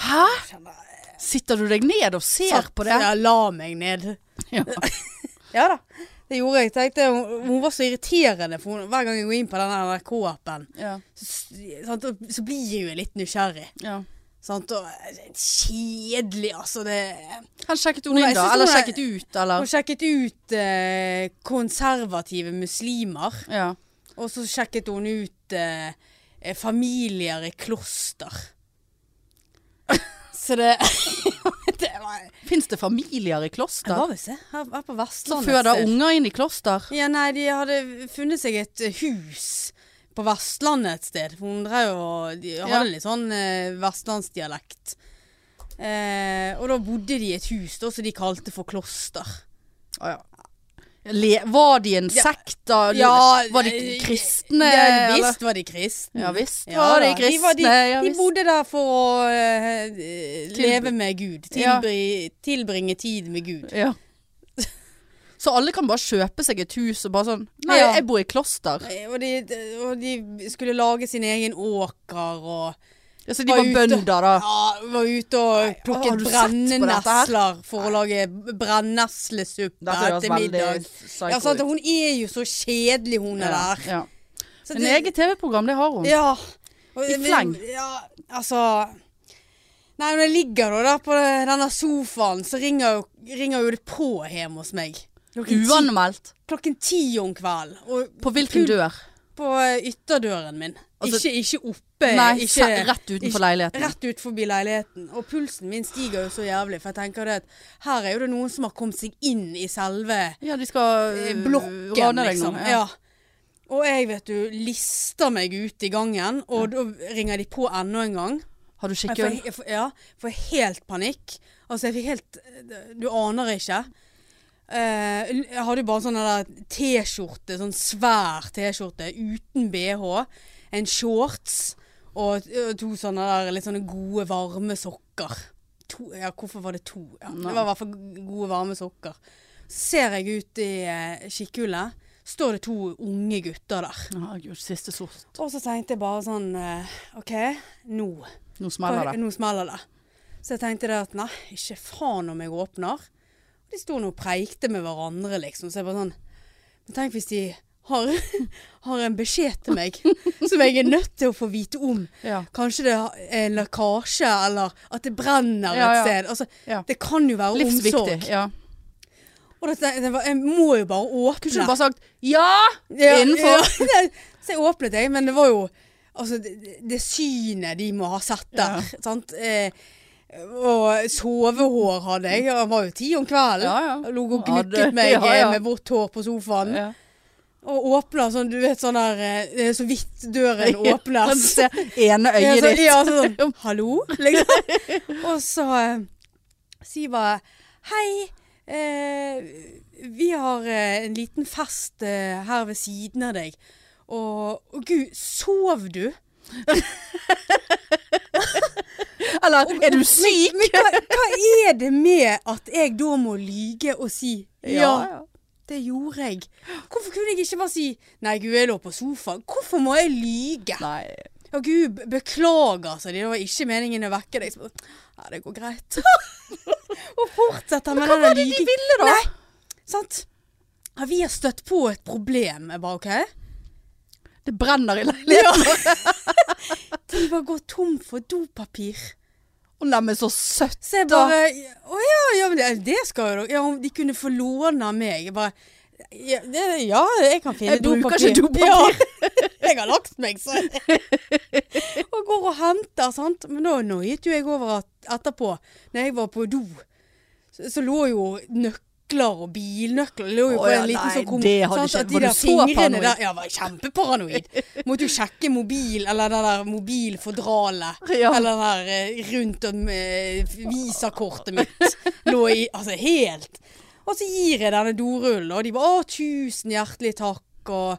Speaker 1: Hæ?
Speaker 2: Kjenner jeg
Speaker 1: Sitter du deg ned og ser
Speaker 2: satt-
Speaker 1: på det?
Speaker 2: Ja, la meg ned.
Speaker 1: Ja.
Speaker 2: Ja da. Det gjorde jeg. tenkte Hun, hun var så irriterende, for hun, hver gang jeg går inn på den NRK-appen,
Speaker 1: Ja.
Speaker 2: så, s- sant, og så blir jeg jo litt nysgjerrig.
Speaker 1: ja.
Speaker 2: Sant? Og eh, kjedelig, altså. Det
Speaker 1: Han sjekket hun
Speaker 2: Nei,
Speaker 1: inn,
Speaker 2: jeg
Speaker 1: da?
Speaker 2: synes
Speaker 1: Eller
Speaker 2: hun er-
Speaker 1: sjekket ut, eller?
Speaker 2: Hun sjekket ut eh, konservative muslimer,
Speaker 1: Ja.
Speaker 2: og så sjekket hun ut eh, eh, familier i kloster. så det Det var
Speaker 1: Fins det familier i
Speaker 2: Jeg
Speaker 1: kloster?
Speaker 2: var sånn visst det. Her, her på Vestlandet.
Speaker 1: Føder
Speaker 2: ser-
Speaker 1: unger inn i kloster?
Speaker 2: Ja, nei, de hadde funnet seg et eh, hus på Vestlandet et sted. For hun drev og De hadde
Speaker 1: Ja.
Speaker 2: litt sånn eh, vestlandsdialekt. Eh, og da bodde de i et hus da, som de kalte for kloster.
Speaker 1: Å, ja. Le, var de en
Speaker 2: Ja.
Speaker 1: sekt, da? Du- var de
Speaker 2: eh,
Speaker 1: kristne?
Speaker 2: Ja,
Speaker 1: eller?
Speaker 2: visst var de kristne.
Speaker 1: Ja visst
Speaker 2: Ja,
Speaker 1: var de
Speaker 2: da.
Speaker 1: kristne.
Speaker 2: De, var, de,
Speaker 1: ja,
Speaker 2: de
Speaker 1: visst.
Speaker 2: bodde der for å eh, eh, leve med Gud.
Speaker 1: Ja.
Speaker 2: Tilbri, Tilbringe tid med Gud.
Speaker 1: ja. Så alle kan bare kjøpe seg et hus og bare sånn Nei,
Speaker 2: Ja.
Speaker 1: jeg bor i kloster.
Speaker 2: Eh, Og de, og de skulle lage sin egen åker og
Speaker 1: Ja, så de
Speaker 2: Var
Speaker 1: var
Speaker 2: ute.
Speaker 1: bønder, da.
Speaker 2: Ja, var ute og
Speaker 1: har
Speaker 2: plukket
Speaker 1: du sett på dette her?
Speaker 2: brennesler for å lage brenneslesuppe
Speaker 1: Dette høres
Speaker 2: til
Speaker 1: veldig
Speaker 2: middag.
Speaker 1: psycho
Speaker 2: Ja, sant? og Hun er jo så kjedelig, hun er
Speaker 1: Ja,
Speaker 2: der.
Speaker 1: ja.
Speaker 2: Så
Speaker 1: Men
Speaker 2: det-
Speaker 1: eget TV-program, det har hun.
Speaker 2: Ja. Og-
Speaker 1: I
Speaker 2: men-
Speaker 1: fleng.
Speaker 2: Ja, altså Nei, når jeg ligger da der på denne sofaen, så ringer jo, ringer jo det på hjemme hos meg. Klokken ti,
Speaker 1: Uanmeldt.
Speaker 2: klokken ti om kvelden. Og
Speaker 1: På hvilken dør?
Speaker 2: på eh, ytterdøren min.
Speaker 1: Altså-
Speaker 2: ikke, ikke oppe.
Speaker 1: Nei,
Speaker 2: Eh, ikke,
Speaker 1: se- rett utenfor
Speaker 2: ikke-
Speaker 1: leiligheten.
Speaker 2: Rett ut forbi leiligheten. Og pulsen min stiger jo så jævlig, for jeg tenker det at her er jo det noen som har kommet seg inn i selve
Speaker 1: Ja, de skal
Speaker 2: eh,
Speaker 1: øh,
Speaker 2: blokken,
Speaker 1: rane deg
Speaker 2: liksom.
Speaker 1: nå.
Speaker 2: Ja. Og jeg, vet du, lister meg ut i gangen, og da ringer de på enda en gang.
Speaker 1: Har du
Speaker 2: Jeg
Speaker 1: skikkøl?
Speaker 2: får, jeg får, ja, får helt panikk. Altså, jeg fikk helt Du aner ikke. Eh, jeg hadde jo bare sånn der T-skjorte, sånn svær T-skjorte uten BH, en shorts og, og to sånne der litt sånne gode, varme sokker. To, ja, hvorfor var det to? Ja, det var i hvert fall gode, varme sokker. Så ser jeg ut i eh, kikkhullet, står det to unge gutter der.
Speaker 1: Herregud, siste sort.
Speaker 2: Og så tenkte jeg bare sånn eh, OK, nå.
Speaker 1: Nå smeller det.
Speaker 2: Nå smeller det. Så jeg tenkte det at nei, ikke faen om jeg åpner. Og de sto nå og preikte med hverandre, liksom. Så jeg bare sånn Men tenk hvis de har, har en beskjed til meg som jeg er nødt til å få vite om.
Speaker 1: Ja.
Speaker 2: Kanskje det er en lekkasje, eller at det
Speaker 1: Ja,
Speaker 2: brenner
Speaker 1: ja.
Speaker 2: et sted. Altså,
Speaker 1: Ja.
Speaker 2: Det kan jo være
Speaker 1: Livsviktig.
Speaker 2: omsorg.
Speaker 1: Ja.
Speaker 2: Og da tenkte jeg bare, jeg må jo bare åpne.
Speaker 1: Kunne du bare sagt ja innenfor?
Speaker 2: Ja, nei, så jeg åpnet jeg, men det var jo altså, det, det synet de må ha sett der. Sant? Eh, og sovehår hadde jeg. og Han var jo ti om kvelden.
Speaker 1: Ja, ja.
Speaker 2: Lå og
Speaker 1: Ja,
Speaker 2: gnukket
Speaker 1: det-
Speaker 2: meg
Speaker 1: ja, ja.
Speaker 2: eh, med vått hår på sofaen.
Speaker 1: Ja.
Speaker 2: Og åpna sånn, du vet sånn der eh, det er Så vidt døren
Speaker 1: Ja,
Speaker 2: åpnes.
Speaker 1: se ene
Speaker 2: Ja,
Speaker 1: øyet
Speaker 2: så-
Speaker 1: ditt.
Speaker 2: Ja, så sånn, hallo? Liksom. Og så eh, sier bare Hei, eh, vi har eh, en liten fest eh, her ved siden av deg. Og, og gud, sov du?
Speaker 1: Eller er du syk?
Speaker 2: Men hva, hva er det med at jeg da må lyge og si ja? Det gjorde jeg. Hvorfor kunne jeg ikke bare si Nei, gud, jeg lå på sofaen. Hvorfor må jeg lyge?
Speaker 1: Nei.
Speaker 2: Å gud, be- beklager, sa de. Det var ikke meningen å vekke deg. Så bare, Ja, det går greit. og fortsetter med
Speaker 1: Hva
Speaker 2: den
Speaker 1: var det de
Speaker 2: lygen.
Speaker 1: ville, da?
Speaker 2: Nei. Sant? Ja, vi har støtt på et problem. Jeg bare OK.
Speaker 1: Det brenner i leiligheten.
Speaker 2: De var gått tom for dopapir.
Speaker 1: Å, Neimen, så søtt.
Speaker 2: Så jeg
Speaker 1: Da-
Speaker 2: bare Å ja, ja, men det- det skal jo dere. Ja, om de kunne få låne av meg. Jeg bare ja, det, ja, jeg kan finne
Speaker 1: Jeg bruker ikke dopapir.
Speaker 2: Ja. Jeg har lagt meg, så Og går og henter, sant. Men da nøyet jo jeg over at etterpå, når jeg var på do, så, så lå jo nøkkelen nøkler og bilnøkler. Det lå jo
Speaker 1: Å,
Speaker 2: på
Speaker 1: ja,
Speaker 2: en liten
Speaker 1: nei,
Speaker 2: sånn kom-
Speaker 1: det hadde
Speaker 2: sant,
Speaker 1: ikke-
Speaker 2: at de
Speaker 1: var du
Speaker 2: der
Speaker 1: så
Speaker 2: fingrene
Speaker 1: paranoid?
Speaker 2: der Ja, jeg var kjempeparanoid. Måtte jo sjekke mobil, eller det der mobilfordralet.
Speaker 1: Ja.
Speaker 2: Eller den der eh, rundt om eh, visakortet mitt. Lå i Altså helt. Og så gir jeg denne dorullen, og de bare 'Å, tusen hjertelig takk', og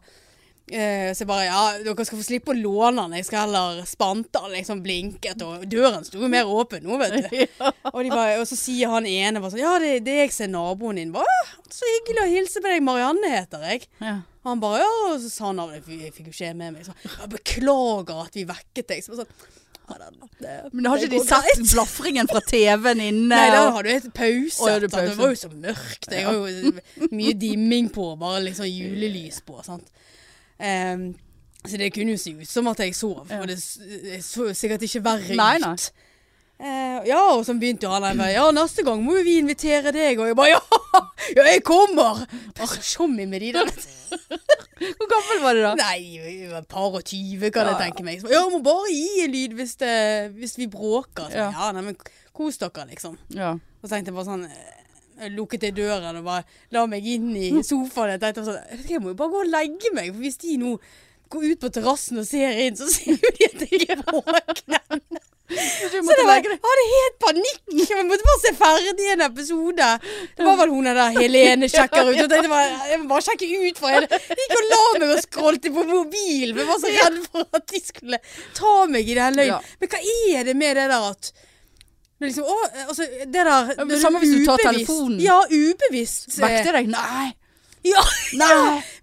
Speaker 2: eh, så jeg bare Ja, dere skal få slippe å låne den. Jeg skal heller spante den, liksom blinket, og døren sto jo mer åpen nå, vet du. Og, de bare, og så sier han ene bare sånn Ja, det, det er jeg som er naboen din. Bare, «Å, så hyggelig å hilse på deg. Marianne heter jeg.
Speaker 1: Ja.
Speaker 2: Og han bare Ja, og så sa han navnet. Jeg fikk jo ikke med meg. Så, jeg beklager at vi vekket deg. Så bare sånn «Ja, da, det-
Speaker 1: Men har
Speaker 2: det
Speaker 1: ikke de
Speaker 2: går greit.»
Speaker 1: sett blafringen fra TV-en inne?
Speaker 2: Nei, da
Speaker 1: og-
Speaker 2: hadde du helt pause.
Speaker 1: Å, ja, du
Speaker 2: sant? det
Speaker 1: pause.
Speaker 2: var jo så mørkt. Jeg har jo mye dimming på, bare liksom julelys på. Sant? Ehm, så det kunne jo se ut som at jeg sov, og det s- det så jo sikkert ikke verre
Speaker 1: Nei,
Speaker 2: ut.
Speaker 1: nei.
Speaker 2: Eh, ja, og så begynte jo han der bare Ja, neste gang må jo vi invitere deg. Og jeg bare Ja, ja jeg kommer! Det er så tjommi med de der.
Speaker 1: Hvor gammel var du da?
Speaker 2: Nei, jeg var et par og tyve, kan
Speaker 1: Ja,
Speaker 2: jeg
Speaker 1: ja.
Speaker 2: tenke meg. Så, bare, ja, må bare gi en lyd hvis, det, hvis vi bråker. Så,
Speaker 1: Ja.
Speaker 2: ja, nei, men kos dere, liksom.
Speaker 1: Ja.
Speaker 2: Og tenkte jeg bare sånn eh, jeg Lukket jeg døren og bare la meg inn i sofaen. Jeg tenkte sånn "Vet du hva, Jeg må jo bare gå og legge meg, for hvis de nå går ut på terrassen og ser inn, så ser jo de at jeg er våken.
Speaker 1: Så
Speaker 2: Så det var, jeg hadde helt panikk. Jeg måtte bare se ferdig en episode. Det var vel hun der Helene sjekker ut. Og tenkte bare, jeg må bare sjekke ut for henne. Gikk og la meg og scrollte på mobilen. Jeg var så redd for at de skulle ta meg i den løgnen.
Speaker 1: Ja.
Speaker 2: Men hva er det med det der at det er liksom, å, altså, det der,
Speaker 1: men
Speaker 2: når
Speaker 1: samme hvis du tar
Speaker 2: ubevisst-
Speaker 1: telefonen.
Speaker 2: Ja, ubevisst. eh,
Speaker 1: Vekte deg? Nei!
Speaker 2: Ja,
Speaker 1: Nei!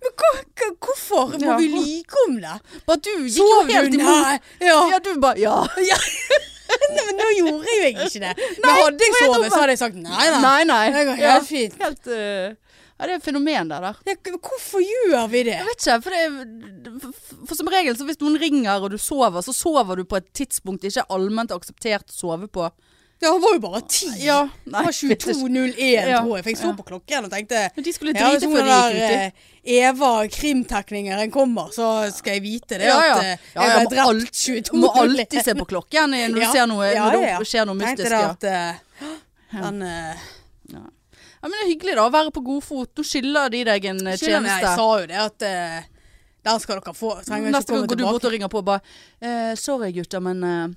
Speaker 2: men hva, hva, hvorfor må
Speaker 1: Ja.
Speaker 2: vi lyge om det?
Speaker 1: Bare du gikk jo
Speaker 2: Sov du?
Speaker 1: helt imot.
Speaker 2: Nei. Ja.
Speaker 1: Ja, du bare Ja.
Speaker 2: Nei, men nå gjorde jeg jo ikke det.
Speaker 1: Nei,
Speaker 2: Men hadde jeg
Speaker 1: for jeg
Speaker 2: sovet,
Speaker 1: tror-
Speaker 2: så hadde jeg sagt nei, nei.
Speaker 1: Nei, nei.
Speaker 2: Det går helt
Speaker 1: Ja.
Speaker 2: fint.
Speaker 1: Helt, eh, ja, det er et fenomen der, der.
Speaker 2: Ja, k- hvorfor gjør vi det?
Speaker 1: Jeg vet ikke, for, det er, for- for som regel så hvis noen ringer og du sover, så sover du på et tidspunkt det ikke er allment akseptert å sove på.
Speaker 2: Ja, han var jo bare ti.
Speaker 1: nei,
Speaker 2: det var
Speaker 1: jeg vet ikke.
Speaker 2: 22.01,
Speaker 1: Ja.
Speaker 2: tror jeg. For jeg så på klokken og tenkte
Speaker 1: Men de skulle drite
Speaker 2: ja, hvis hun
Speaker 1: før de
Speaker 2: der
Speaker 1: gikk uti.
Speaker 2: eh, Eva krimteknikeren kommer, så skal jeg vite det.
Speaker 1: Ja, ja.
Speaker 2: At eh,
Speaker 1: Ja,
Speaker 2: jeg
Speaker 1: ja,
Speaker 2: ble
Speaker 1: må alt-
Speaker 2: drept
Speaker 1: Du må
Speaker 2: 22.01.
Speaker 1: alltid se på klokken eh, når du
Speaker 2: Ja.
Speaker 1: ser noe,
Speaker 2: Ja,
Speaker 1: når det
Speaker 2: ja, ja.
Speaker 1: skjer noe mystisk.
Speaker 2: Tenkte
Speaker 1: Ja.
Speaker 2: det at eh, den eh,
Speaker 1: Ja, men det er hyggelig da, å være på god fot. Nå skylder de deg en eh,
Speaker 2: skylder meg. Jeg
Speaker 1: tjeneste.
Speaker 2: sa jo det at eh, den skal dere få. Trenger ikke
Speaker 1: Neste gang
Speaker 2: komme
Speaker 1: går du
Speaker 2: tilbake.
Speaker 1: bort og ringer på og bare eh, Sorry gutter, men eh,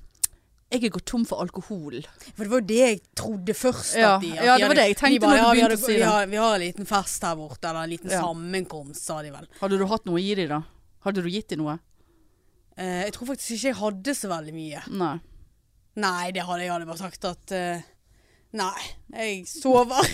Speaker 1: jeg er gått tom for alkohol.
Speaker 2: For det var jo det jeg trodde først.
Speaker 1: Ja.
Speaker 2: at de, at
Speaker 1: Ja, det var
Speaker 2: de hadde-
Speaker 1: det jeg tenkte
Speaker 2: de bare,
Speaker 1: når du
Speaker 2: ja, vi
Speaker 1: begynte
Speaker 2: hadde-
Speaker 1: å si
Speaker 2: Vi
Speaker 1: det.
Speaker 2: har, vi har en liten fest her borte, eller en liten
Speaker 1: Ja.
Speaker 2: sammenkomst, sa de vel.
Speaker 1: Hadde du hatt noe å gi dem da? Hadde du gitt dem noe?
Speaker 2: Eh, jeg tror faktisk ikke jeg hadde så veldig mye.
Speaker 1: Nei.
Speaker 2: Nei, det hadde jeg hadde bare sagt at eh, Nei, jeg sover.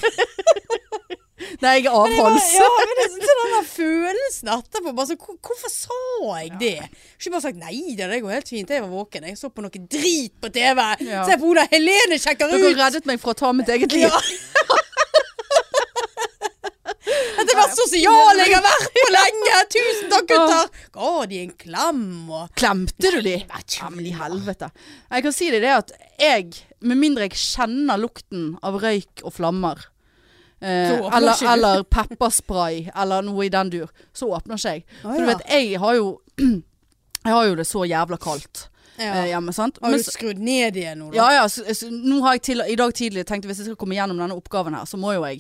Speaker 1: Nei, jeg er avholds.
Speaker 2: ja, men det, så den der følelsen etterpå bare så, hvor- Hvorfor sa jeg det? Ikke bare sagt nei, det, det går helt fint. Jeg var våken. Jeg så på noe drit på TV.
Speaker 1: Ja.
Speaker 2: Se på hvordan Helene sjekker
Speaker 1: Dere
Speaker 2: ut!
Speaker 1: reddet meg fra å ta mitt eget liv.
Speaker 2: Ja. Dette var sosial jeg har vært på lenge! Tusen takk, gutter! Ga de en klem og
Speaker 1: Klemte du de? Ja, men i helvete. Jeg kan si deg det at jeg, med mindre jeg kjenner lukten av røyk og flammer, eh,
Speaker 2: Så åpner
Speaker 1: eller,
Speaker 2: ikke du.
Speaker 1: eller pepperspray eller noe i den dur, så åpner ikke jeg.
Speaker 2: Å,
Speaker 1: For du
Speaker 2: ja.
Speaker 1: vet, jeg har jo Jeg har jo det så jævla kaldt eh, hjemme, sant?
Speaker 2: Har
Speaker 1: Men
Speaker 2: du
Speaker 1: så-
Speaker 2: skrudd ned igjen nå, da?
Speaker 1: Ja, ja, så, så, nå har jeg til, I dag tidlig tenkt hvis jeg skal komme gjennom denne oppgaven her, så må jo jeg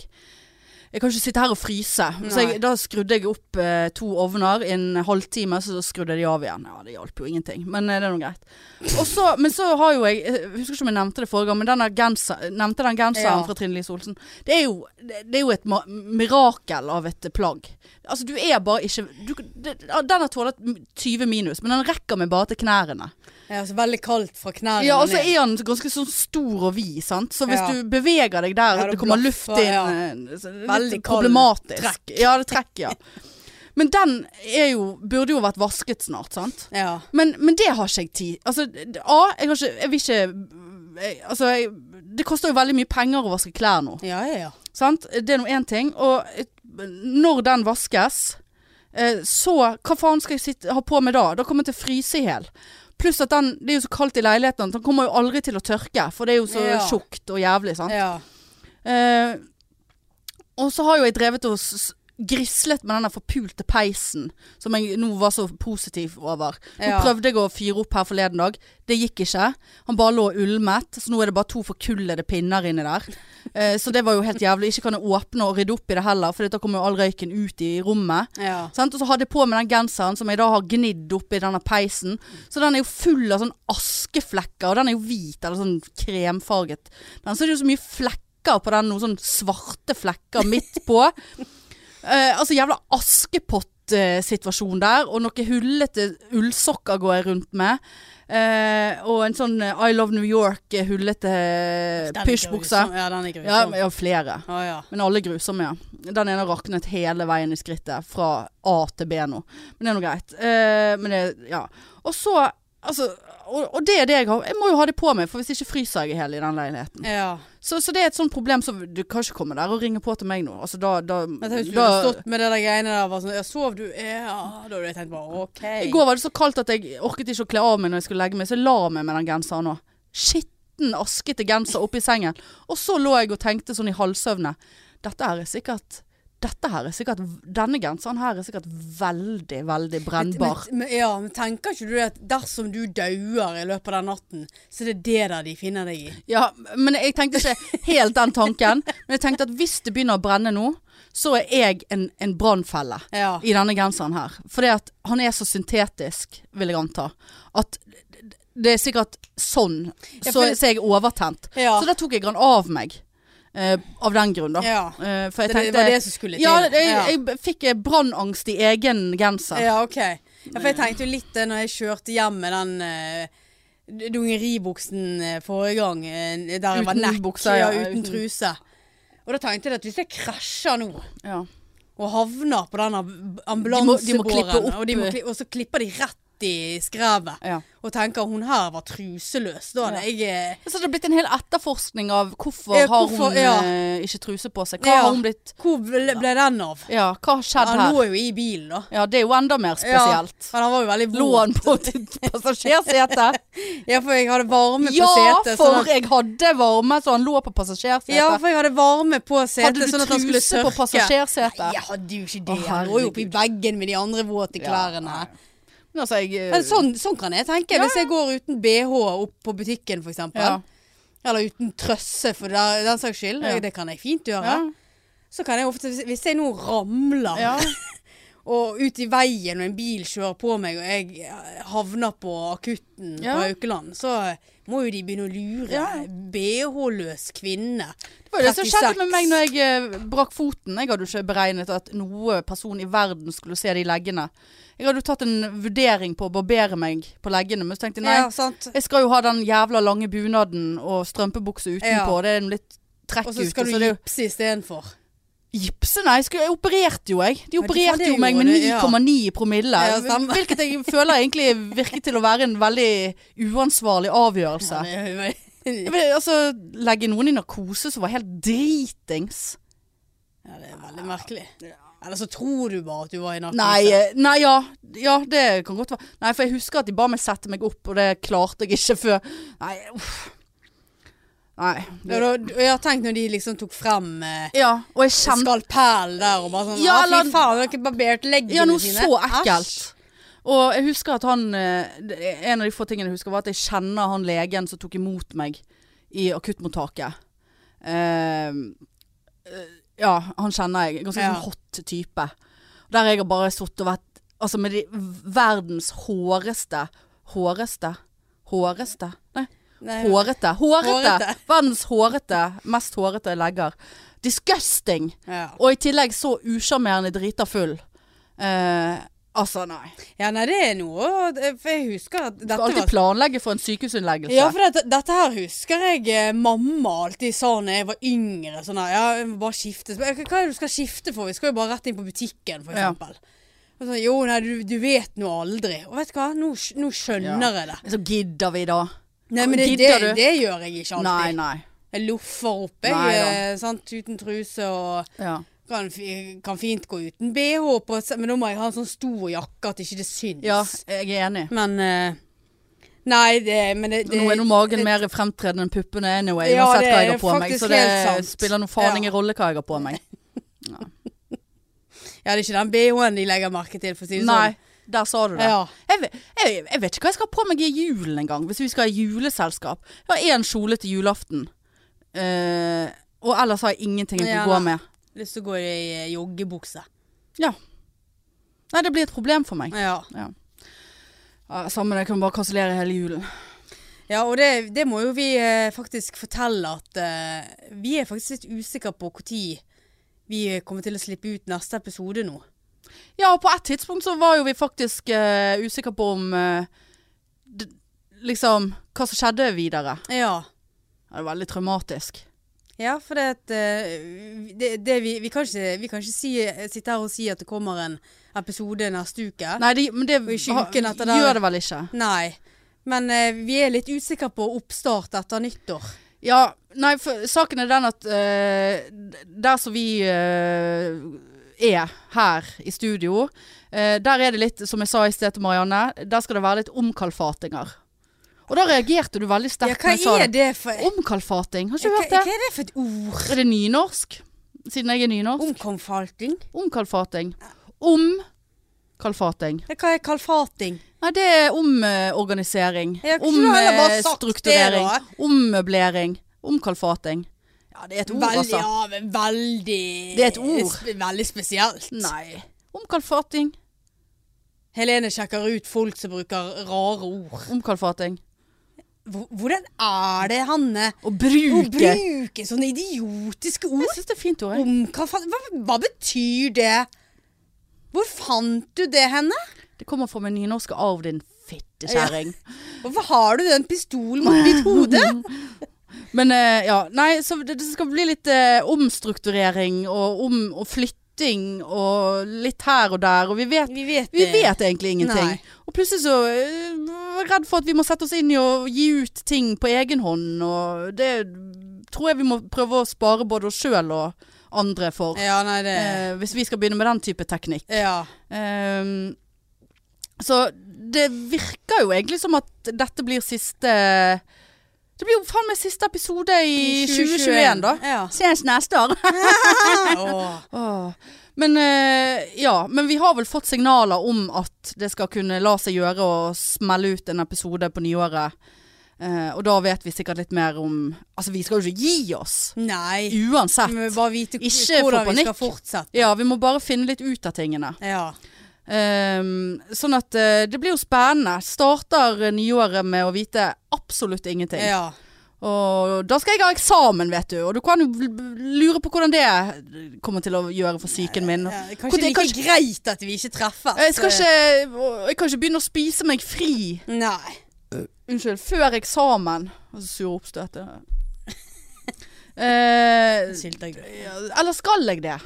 Speaker 1: Jeg kan ikke sitte her og fryse. Så jeg,
Speaker 2: Nei.
Speaker 1: da skrudde jeg opp eh, to ovner i en halvtime, så skrudde de av igjen. Ja, det hjalp jo ingenting, men eh, det er nå greit. Og så- men så har jo jeg Jeg husker ikke om jeg nevnte det forrige gang, men denne genser, nevnte den genseren
Speaker 2: Ja.
Speaker 1: fra Trine Lise Olsen. Det er jo, det, det er jo et ma mirakel av et plagg. Altså, du er bare ikke du, det, Den har tålet 20 minus, men den rekker meg bare til knærne.
Speaker 2: Ja, så veldig kaldt fra knærne
Speaker 1: Ja, og så
Speaker 2: ned.
Speaker 1: er han ganske sånn stor og vid, sant. Så hvis
Speaker 2: Ja.
Speaker 1: du beveger deg der,
Speaker 2: Ja,
Speaker 1: det
Speaker 2: det
Speaker 1: kommer
Speaker 2: blaffer,
Speaker 1: luft inn.
Speaker 2: ja.
Speaker 1: eh, så det er
Speaker 2: Veldig
Speaker 1: Litt
Speaker 2: kald
Speaker 1: problematisk.
Speaker 2: trekk.
Speaker 1: Ja, det trekker, ja. Men den er jo, burde jo vært vasket snart, sant.
Speaker 2: Ja.
Speaker 1: Men, men det har ikke jeg tid Altså, d- A, jeg, har ikke, jeg vil ikke jeg, Altså, jeg, det koster jo veldig mye penger å vaske klær nå.
Speaker 2: ja, ja, ja.
Speaker 1: Sant? Det er nå én ting. Og eh, når den vaskes, eh, så hva faen skal jeg sitte, ha på meg da? Da kommer jeg til å fryse i hjel. Pluss at den, det er jo så kaldt i leiligheten, at den kommer jo aldri til å tørke. For det er jo så
Speaker 2: Ja.
Speaker 1: tjukt og jævlig, sant.
Speaker 2: ja.
Speaker 1: Eh, og så har jo jeg drevet og s- s- grislet med den der forpulte peisen som jeg nå var så positiv over. Nå
Speaker 2: Ja.
Speaker 1: prøvde jeg å fyre opp her forleden dag. Det gikk ikke. Han bare lå og ulmet. Så nå er det bare to forkullede pinner inni der. Eh, så det var jo helt jævlig. Ikke kan jeg åpne og rydde opp i det heller, for da kommer jo all røyken ut i rommet.
Speaker 2: Ja.
Speaker 1: Sant? Og så hadde jeg på meg den genseren som jeg da har gnidd oppi denne peisen. Så den er jo full av sånn askeflekker, og den er jo hvit, eller sånn kremfarget. Den så er det jo så mye flekker på den, noen sånn svarte flekker midt på. Eh, altså jævla askepott-situasjon der, og noen hullete ullsokker går jeg rundt med. Eh, og en sånn eh, I Love New York-hullete
Speaker 2: Den er sånn.
Speaker 1: pysjbukse.
Speaker 2: grusom. Ja, den er
Speaker 1: Eh, Ja,
Speaker 2: grusom.
Speaker 1: jeg har flere.
Speaker 2: Å ja.
Speaker 1: Men alle grusomme, ja. Den ene raknet hele veien i skrittet, fra A til B nå. Men det er nå greit. Eh, men det, ja. Og så, altså, og, og det er det jeg har. Jeg må jo ha det på meg, for hvis ikke fryser jeg i hjel i den leiligheten.
Speaker 2: ja.
Speaker 1: Så, så det er et sånt problem som Du kan ikke komme der og ringe på til meg nå. Altså, da, da,
Speaker 2: Men tenk hvis du
Speaker 1: da
Speaker 2: hadde stått med det der greiene der og var sånn Ja, sov du? Ja. Da hadde jeg tenkt bare OK.
Speaker 1: I går var det så kaldt at jeg orket ikke å kle av meg når jeg skulle legge meg, så jeg la meg med den genseren òg. Skitten, askete genser oppi sengen. Og så lå jeg og tenkte sånn i halvsøvne. Dette her er sikkert dette her er sikkert, Denne genseren her er sikkert veldig, veldig brennbar.
Speaker 2: Men, men, ja, men tenker ikke du det at dersom du dauer i løpet av den natten, så er det det der de finner deg i?
Speaker 1: Ja, men jeg tenkte ikke helt den tanken. Men jeg tenkte at hvis det begynner å brenne nå, så er jeg en, en brannfelle.
Speaker 2: Ja.
Speaker 1: i denne genseren her. Fordi at han er så syntetisk, vil jeg anta. At det er sikkert sånn.
Speaker 2: Ja,
Speaker 1: Så,
Speaker 2: for-
Speaker 1: så er jeg overtent.
Speaker 2: Ja.
Speaker 1: Så da tok jeg han av meg. eh, av den grunn, da.
Speaker 2: Ja.
Speaker 1: Eh, for jeg
Speaker 2: Det,
Speaker 1: tenkte
Speaker 2: det var det som skulle til.
Speaker 1: Ja, det- jeg,
Speaker 2: ja.
Speaker 1: jeg fikk eh, brannangst i egen genser.
Speaker 2: Ja, ok. Ja, for jeg tenkte jo litt det når jeg kjørte hjem med den eh, d- dungeribuksen eh, forrige gang, eh, der jeg var
Speaker 1: Uten
Speaker 2: nekk,
Speaker 1: bukser, ja,
Speaker 2: ja, uten
Speaker 1: uten-
Speaker 2: truse. Og da tenkte jeg at hvis jeg krasjer nå,
Speaker 1: Ja.
Speaker 2: og havner på den amb-
Speaker 1: De må- de må klippe
Speaker 2: ambulansebåren,
Speaker 1: opp- eh.
Speaker 2: og, de må kli- og så klipper de rett i skrevet,
Speaker 1: Ja.
Speaker 2: og tenker hun her var truseløs, da hadde jeg eh,
Speaker 1: Så det har blitt en hel etterforskning av hvorfor,
Speaker 2: Ja,
Speaker 1: har
Speaker 2: hvorfor-
Speaker 1: hun
Speaker 2: ja.
Speaker 1: eh, ikke truse på seg. Hva
Speaker 2: Ja.
Speaker 1: har hun blitt
Speaker 2: Hvor ble, ble den av?
Speaker 1: Ja, hva har skjedd
Speaker 2: Han
Speaker 1: her?
Speaker 2: lå jo i bilen, da.
Speaker 1: Ja, det er jo enda mer spesielt.
Speaker 2: Ja, men han var jo veldig
Speaker 1: Lå
Speaker 2: våt.
Speaker 1: han på et passasjersete?
Speaker 2: Ja, for jeg hadde varme
Speaker 1: Ja,
Speaker 2: på setet. sånn
Speaker 1: for
Speaker 2: at-
Speaker 1: jeg hadde varme, så han lå på passasjersetet.
Speaker 2: Ja, for jeg hadde varme på setet.
Speaker 1: hadde du
Speaker 2: sånn at han skulle
Speaker 1: truse på
Speaker 2: tørke.
Speaker 1: passasjersetet?
Speaker 2: Nei, jeg hadde jo ikke det.
Speaker 1: Å,
Speaker 2: Han lå jo oppi
Speaker 1: herregud.
Speaker 2: veggen med de andre våte klærne.
Speaker 1: nei. Men altså, jeg
Speaker 2: Men sånn, sånn kan jeg tenke. Hvis jeg går uten BH opp på butikken, for eksempel.
Speaker 1: Ja.
Speaker 2: Eller uten trøsse, for den, den saks skyld.
Speaker 1: Ja.
Speaker 2: Det kan jeg fint gjøre.
Speaker 1: ja.
Speaker 2: Så kan jeg ofte, hvis- hvis jeg nå ramler
Speaker 1: Ja.
Speaker 2: og ut i veien og en bil kjører på meg, og jeg eh, havner på akutten
Speaker 1: Ja.
Speaker 2: på Haukeland, så må jo de begynne å lure.
Speaker 1: Ja.
Speaker 2: BH-løs kvinne.
Speaker 1: Det var jo det som skjedde med meg når jeg eh, brakk foten. Jeg hadde jo ikke beregnet at noe person i verden skulle se de leggene. Jeg hadde jo tatt en vurdering på å barbere meg på leggene, men så tenkte jeg nei.
Speaker 2: Ja, sant.
Speaker 1: Jeg skal jo ha den jævla lange bunaden og strømpebukse utenpå.
Speaker 2: Ja.
Speaker 1: Det er litt trekk
Speaker 2: Og
Speaker 1: ute.
Speaker 2: så skal du
Speaker 1: det er jo-
Speaker 2: gipse istedenfor.
Speaker 1: Gipse, nei. Jeg, skulle, jeg opererte jo, jeg. De
Speaker 2: Ja, de
Speaker 1: opererte
Speaker 2: gjorde
Speaker 1: jo meg med
Speaker 2: det, ja.
Speaker 1: 9,9 i promille.
Speaker 2: Ja, stemmer.
Speaker 1: hvilket jeg føler egentlig virker til å være en veldig uansvarlig avgjørelse.
Speaker 2: Ja,
Speaker 1: Jeg vil, altså, legge noen i narkose som var helt dritings.
Speaker 2: det er veldig merkelig. Eller så tror du bare at du var i narkose.
Speaker 1: Nei, eh, nei ja, ja, det kan godt være. Nei, for jeg husker at de ba meg sette meg opp, og det klarte jeg ikke før. Nei, uff. Nei.
Speaker 2: Ja, da, og jeg har tenkt når de liksom tok frem eh,
Speaker 1: Ja, og jeg kjente
Speaker 2: skalpell der og bare sånn
Speaker 1: Ja,
Speaker 2: Ja, fy
Speaker 1: eller-
Speaker 2: faen, du har ikke barbert leggene
Speaker 1: Ja, noe
Speaker 2: sine.
Speaker 1: så
Speaker 2: Æsj.
Speaker 1: ekkelt. Og jeg husker at han eh, det- En av de få tingene jeg husker, var at jeg kjenner han legen som tok imot meg i akuttmottaket. Eh, eh, ja, han kjenner jeg. Ganske
Speaker 2: Ja.
Speaker 1: sånn hot type. Der jeg har bare sittet og vært Altså med de verdens håreste Håreste? Håreste? Nei.
Speaker 2: Nei,
Speaker 1: Hårete. Hårete.
Speaker 2: Hårete.
Speaker 1: Verdens hårete. Mest hårete legger. Disgusting.
Speaker 2: Ja.
Speaker 1: Og i tillegg så usjarmerende drita full. Eh, altså, nei. Du
Speaker 2: ja, nei, det er noe eh, For jeg husker at dette
Speaker 1: skal alltid
Speaker 2: var
Speaker 1: planlegge for en sykehusinnleggelse.
Speaker 2: ja, for dette, dette her husker jeg eh, mamma alltid sa når jeg var yngre. Sånn her, ja, jeg må bare skifte. Så, eh, Hva hva er det du skal skifte for? Vi skal jo bare rett inn på butikken, for
Speaker 1: Ja.
Speaker 2: eksempel. Og Sånn, jo, nei, du, du vet nå aldri. Og vet du hva, nå, sk- nå skjønner jeg det.
Speaker 1: Så gidder vi da.
Speaker 2: Nei, men det, det,
Speaker 1: Gidder du?
Speaker 2: det gjør jeg ikke alltid.
Speaker 1: Nei, nei.
Speaker 2: Jeg loffer opp, jeg.
Speaker 1: Nei da.
Speaker 2: eh, sant? Uten truse og
Speaker 1: Ja.
Speaker 2: kan, fi- kan fint gå uten BH, på, se- men da må jeg ha en sånn stor jakke at ikke det syns.
Speaker 1: ja, jeg er enig.
Speaker 2: Men eh, Nei, det, men det, det
Speaker 1: Nå er nå magen mer fremtredende enn puppene anyway,
Speaker 2: Ja,
Speaker 1: uansett
Speaker 2: det
Speaker 1: hva
Speaker 2: er
Speaker 1: jeg har på meg.
Speaker 2: faktisk
Speaker 1: Så det
Speaker 2: helt sant.
Speaker 1: spiller noe faen
Speaker 2: Ja.
Speaker 1: ingen rolle hva jeg har på meg.
Speaker 2: Ja, det er ikke den BH-en de legger merke til, for å si det
Speaker 1: Nei,
Speaker 2: sånn.
Speaker 1: der sa du det.
Speaker 2: Ja.
Speaker 1: Jeg, ve- jeg, jeg vet ikke hva jeg skal ha på meg i julen engang, hvis vi skal ha juleselskap. Jeg har én kjole til julaften. Eh, og ellers har jeg ingenting jeg
Speaker 2: Ja,
Speaker 1: kan gå
Speaker 2: nei.
Speaker 1: med.
Speaker 2: Lyst til å gå i eh, joggebukse.
Speaker 1: Ja. Nei, det blir et problem for meg.
Speaker 2: Ja.
Speaker 1: Ja, Samme det, jeg kan bare kansellere hele julen.
Speaker 2: Ja, og det, det må jo vi eh, faktisk fortelle at eh, vi er faktisk litt usikre på når vi kommer til å slippe ut neste episode nå.
Speaker 1: Ja, og på et tidspunkt så var jo vi faktisk eh, usikre på om eh, d Liksom hva som skjedde videre.
Speaker 2: Ja,
Speaker 1: Ja, det var veldig traumatisk.
Speaker 2: ja for det, at, eh, det, det vi, vi kan ikke, vi kan ikke si, sitte her og si at det kommer en episode neste uke.
Speaker 1: Nei, det, men det
Speaker 2: Og ikke uken etter det.
Speaker 1: gjør det vel ikke.
Speaker 2: Nei. Men eh, vi er litt usikre på oppstart etter nyttår.
Speaker 1: Ja, nei, for saken er den at eh, d- der som vi eh, er her i studio, eh, der er det litt, som jeg sa i sted til Marianne, der skal det være litt omkalfatinger. Og da reagerte du veldig
Speaker 2: Ja,
Speaker 1: sterkt.
Speaker 2: hva
Speaker 1: når jeg sa
Speaker 2: er det for
Speaker 1: Omkalfating, har ikke du
Speaker 2: hva,
Speaker 1: hørt
Speaker 2: hva
Speaker 1: det?
Speaker 2: er det for et ord?
Speaker 1: Er det nynorsk? Siden jeg er nynorsk.
Speaker 2: Omkomfalting?
Speaker 1: Omkalfating. Omkalfating.
Speaker 2: Ja, Hva er kalfating?
Speaker 1: Nei, det er eh, omorganisering.
Speaker 2: Ja, kunne du
Speaker 1: eh,
Speaker 2: heller bare sagt det,
Speaker 1: Omstrukturering.
Speaker 2: da?
Speaker 1: Ommøblering. Omkalfating. Ja, det er et ord,
Speaker 2: Veldig-
Speaker 1: altså.
Speaker 2: Ja, men veldig
Speaker 1: Det er et ord.
Speaker 2: sp- Veldig spesielt.
Speaker 1: Nei. Omkalfating.
Speaker 2: Helene sjekker ut folk som bruker rare ord.
Speaker 1: Omkalfating.
Speaker 2: Hvor- Hvordan er det, Hanne?
Speaker 1: Å
Speaker 2: Å
Speaker 1: bruke.
Speaker 2: bruke sånne idiotiske
Speaker 1: Jeg
Speaker 2: ord?
Speaker 1: syns det er fint ord, jeg.
Speaker 2: Om, hva, faen- hva, hva betyr det? Hvor fant du det henne?
Speaker 1: Det kommer fra min nynorske arv, din fittekjerring.
Speaker 2: Hvorfor har du den pistolen mot mitt hode?
Speaker 1: Men eh, ja, nei, så det, det skal bli litt eh, omstrukturering og, om, og flytting og litt her og der, og vi vet,
Speaker 2: Vi vet
Speaker 1: vi vet egentlig ingenting.
Speaker 2: Nei.
Speaker 1: Og plutselig så eh, var jeg redd for at vi må sette oss inn i å gi ut ting på egen hånd, og det tror jeg vi må prøve å spare både oss sjøl og andre for.
Speaker 2: Ja, nei, det
Speaker 1: eh, hvis vi skal begynne med den type teknikk.
Speaker 2: Ja.
Speaker 1: Ehm, så det virker jo egentlig som at dette blir siste Det blir jo faen meg siste episode i 2021, da.
Speaker 2: Ja.
Speaker 1: Ses neste år.
Speaker 2: Åh.
Speaker 1: Åh. Men eh, ja, men vi har vel fått signaler om at det skal kunne la seg gjøre å smelle ut en episode på nyåret. Eh, og da vet vi sikkert litt mer om Altså, vi skal jo ikke gi oss.
Speaker 2: Nei. Vi
Speaker 1: Uansett.
Speaker 2: må bare vite
Speaker 1: Ikke få
Speaker 2: hvordan vi skal
Speaker 1: panikk.
Speaker 2: fortsette.
Speaker 1: Ja, vi må bare finne litt ut av tingene.
Speaker 2: Ja.
Speaker 1: Ehm, sånn at eh, det blir jo spennende. Starter eh, nyåret med å vite absolutt ingenting.
Speaker 2: ja.
Speaker 1: Og da skal jeg ha eksamen, vet du. Og du kan jo l- lure på hvordan det eh, kommer til å gjøre for psyken min.
Speaker 2: Ja, det er
Speaker 1: Hvor-
Speaker 2: kanskje
Speaker 1: det
Speaker 2: like
Speaker 1: er kanskje-
Speaker 2: greit at eh, vi ikke treffes.
Speaker 1: Jeg, skal ikke, og jeg kan ikke begynne å spise meg fri
Speaker 2: Eh, Nei.
Speaker 1: Unnskyld, før eksamen. Og så Sur oppstøt. ja. Eh,
Speaker 2: Sylteagurk.
Speaker 1: ja, eller skal jeg det?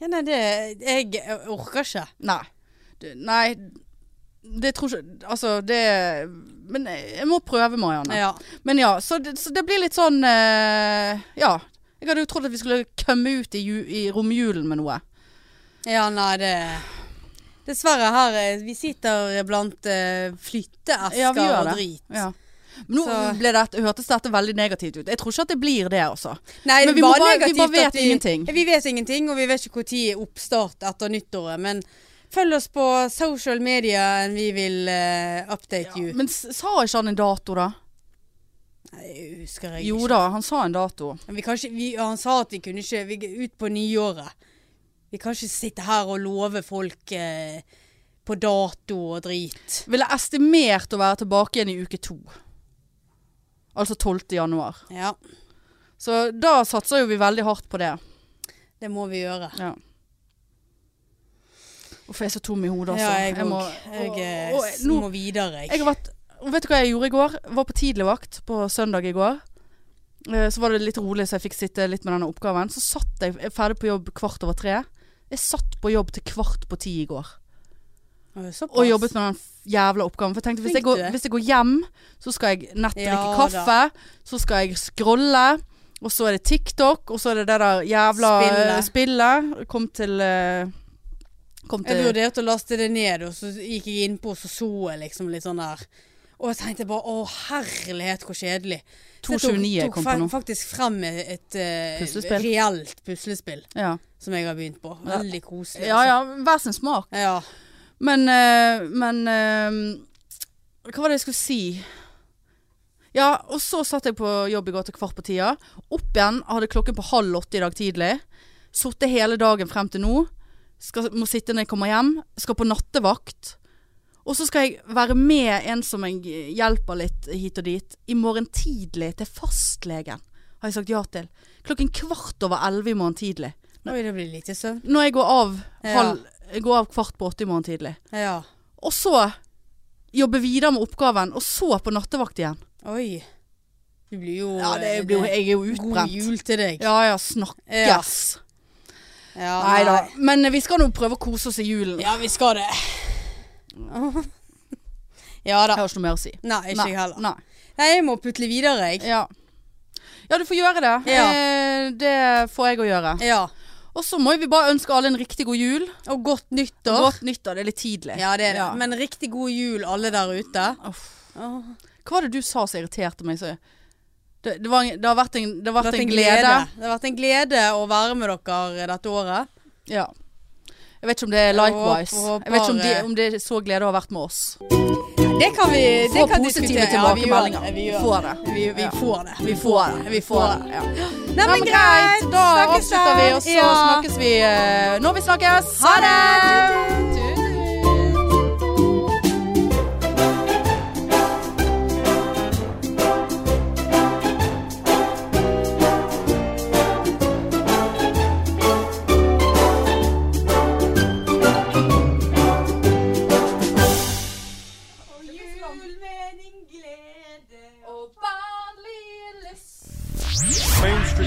Speaker 2: Ja, nei, det Jeg orker ikke.
Speaker 1: Nei. Det, nei, det tror ikke Altså, det Men jeg må prøve, Marianne.
Speaker 2: Ja.
Speaker 1: Men ja, så det, så det blir litt sånn eh, Ja. Jeg hadde jo trodd at vi skulle komme ut i, ju, i romjulen med noe.
Speaker 2: ja, nei, det Dessverre, her eh, Vi sitter blant eh, flytteesker
Speaker 1: Ja, vi gjør
Speaker 2: og
Speaker 1: det.
Speaker 2: drit.
Speaker 1: Ja. Men nå
Speaker 2: Så-
Speaker 1: ble dette, hørtes dette veldig negativt ut. Jeg tror ikke at det blir det, altså.
Speaker 2: Nei,
Speaker 1: Men vi må
Speaker 2: bare
Speaker 1: bare- vi
Speaker 2: negativt
Speaker 1: bare vet
Speaker 2: at
Speaker 1: ingenting.
Speaker 2: Vi vet ingenting, og vi vet ikke når oppstart etter nyttåret. Men følg oss på social media enn vi vil eh, update you.
Speaker 1: Men s- sa ikke han en dato, da?
Speaker 2: Nei, jeg husker jeg
Speaker 1: Jo
Speaker 2: ikke.
Speaker 1: da, han sa en dato.
Speaker 2: Men Vi kan ikke, vi, han sa at vi kunne ikke vi, Ut på nyåret. Vi kan ikke sitte her og love folk eh, på dato og drit.
Speaker 1: Ville estimert å være tilbake igjen i uke to. Altså 12. januar.
Speaker 2: Ja,
Speaker 1: Så da satser jo vi veldig hardt på det.
Speaker 2: det må vi gjøre.
Speaker 1: Ja. Uff, jeg er så tom i hodet, altså.
Speaker 2: ja, jeg òg.
Speaker 1: må-
Speaker 2: Jeg, eh,
Speaker 1: og- og-
Speaker 2: s-
Speaker 1: nå-
Speaker 2: må videre, jeg.
Speaker 1: Jeg har vært, og vet du hva jeg gjorde i går? Jeg var på tidligvakt på søndag i går. Eh, Så var det litt rolig, så jeg fikk sitte litt med denne oppgaven. Så satt jeg, jeg er ferdig på jobb kvart over tre. Jeg satt på jobb til kvart på ti i går.
Speaker 2: Å, såpass.
Speaker 1: Og jobbet med den f- jævla oppgaven. For jeg tenkte hvis jeg,
Speaker 2: Flink
Speaker 1: går,
Speaker 2: du er.
Speaker 1: hvis jeg går hjem, så skal jeg nett drikke
Speaker 2: Ja,
Speaker 1: kaffe. Så skal jeg scrolle. Og så er det TikTok, og så er det det der jævla eh,
Speaker 2: Spillet.
Speaker 1: spillet. Kom til eh, Kom
Speaker 2: Jeg
Speaker 1: til
Speaker 2: vurderte å laste det ned, og så gikk jeg innpå, og så så jeg liksom litt sånn der Og jeg tenkte bare å herlighet, hvor kjedelig. Så
Speaker 1: 2,29
Speaker 2: jeg tok,
Speaker 1: kom på
Speaker 2: tok fa-
Speaker 1: nå.
Speaker 2: faktisk frem et eh,
Speaker 1: Puslespill.
Speaker 2: reelt puslespill
Speaker 1: Ja.
Speaker 2: som jeg har begynt på.
Speaker 1: Ja.
Speaker 2: Veldig koselig.
Speaker 1: ja ja, hver sin smak.
Speaker 2: altså. ja.
Speaker 1: Men, eh, men eh, Hva var det jeg skulle si? Ja, og så satt jeg på jobb i går til kvart på tida. Opp igjen hadde klokken på halv åtte i dag tidlig. Sittet hele dagen frem til nå. Skal, må sitte når jeg kommer hjem. Skal på nattevakt. Og så skal jeg være med en som jeg hjelper litt hit og dit, i morgen tidlig til fastlegen. Har jeg sagt ja til. Klokken kvart over elleve i morgen tidlig.
Speaker 2: Oi, det blir lite søvn.
Speaker 1: Når jeg går av,
Speaker 2: Ja.
Speaker 1: halv, jeg går av kvart på åtte i morgen tidlig.
Speaker 2: Ja.
Speaker 1: Og så jobbe videre med oppgaven, og så på nattevakt igjen.
Speaker 2: Oi. Du blir jo eh,
Speaker 1: jeg er jo
Speaker 2: God jul til deg.
Speaker 1: Ja ja, snakkes.
Speaker 2: Ja,
Speaker 1: Nei da. Men eh, vi skal nå prøve å kose oss i julen.
Speaker 2: Ja, vi skal det. ja da.
Speaker 1: Jeg har ikke noe mer å si.
Speaker 2: Nei, ikke jeg heller.
Speaker 1: Nei.
Speaker 2: Nei, jeg må putle videre, jeg.
Speaker 1: Ja. ja, du får gjøre det.
Speaker 2: Ja.
Speaker 1: Eh, det får jeg å gjøre.
Speaker 2: Ja.
Speaker 1: Og så må vi bare ønske alle en riktig god jul.
Speaker 2: Og godt nyttår.
Speaker 1: Godt nyttår. Det er litt tidlig.
Speaker 2: Ja, det er det.
Speaker 1: Ja.
Speaker 2: Men riktig god jul, alle der ute.
Speaker 1: Uff.
Speaker 2: Åh.
Speaker 1: Hva var det du sa som irriterte meg? Så? Det, det, var, en- det har vært en, det har
Speaker 2: Det
Speaker 1: vært en glede.
Speaker 2: Det har vært en glede å være med dere dette året.
Speaker 1: Ja. Jeg vet ikke om det er likewise.
Speaker 2: håper- håper-
Speaker 1: Jeg vet ikke om det, om det er så glede å ha vært med oss.
Speaker 2: Det kan vi det
Speaker 1: Få
Speaker 2: kan
Speaker 1: positive
Speaker 2: diskutere.
Speaker 1: tilbakemeldinger.
Speaker 2: Ja, vi gjør det. Vi, gjør
Speaker 1: Få
Speaker 2: det.
Speaker 1: det.
Speaker 2: Vi, vi
Speaker 1: Ja.
Speaker 2: får det.
Speaker 1: Vi får det.
Speaker 2: Vi får det.
Speaker 1: Ja.
Speaker 2: Nei,
Speaker 1: Nei,
Speaker 2: men greit.
Speaker 1: Da
Speaker 2: Snakkes
Speaker 1: avslutter vi, og så
Speaker 2: da. Ja.
Speaker 1: snakkes vi eh, når vi snakkes.
Speaker 2: Ha det!
Speaker 1: Tut-tut.
Speaker 2: Jul med din glede og
Speaker 3: mainstream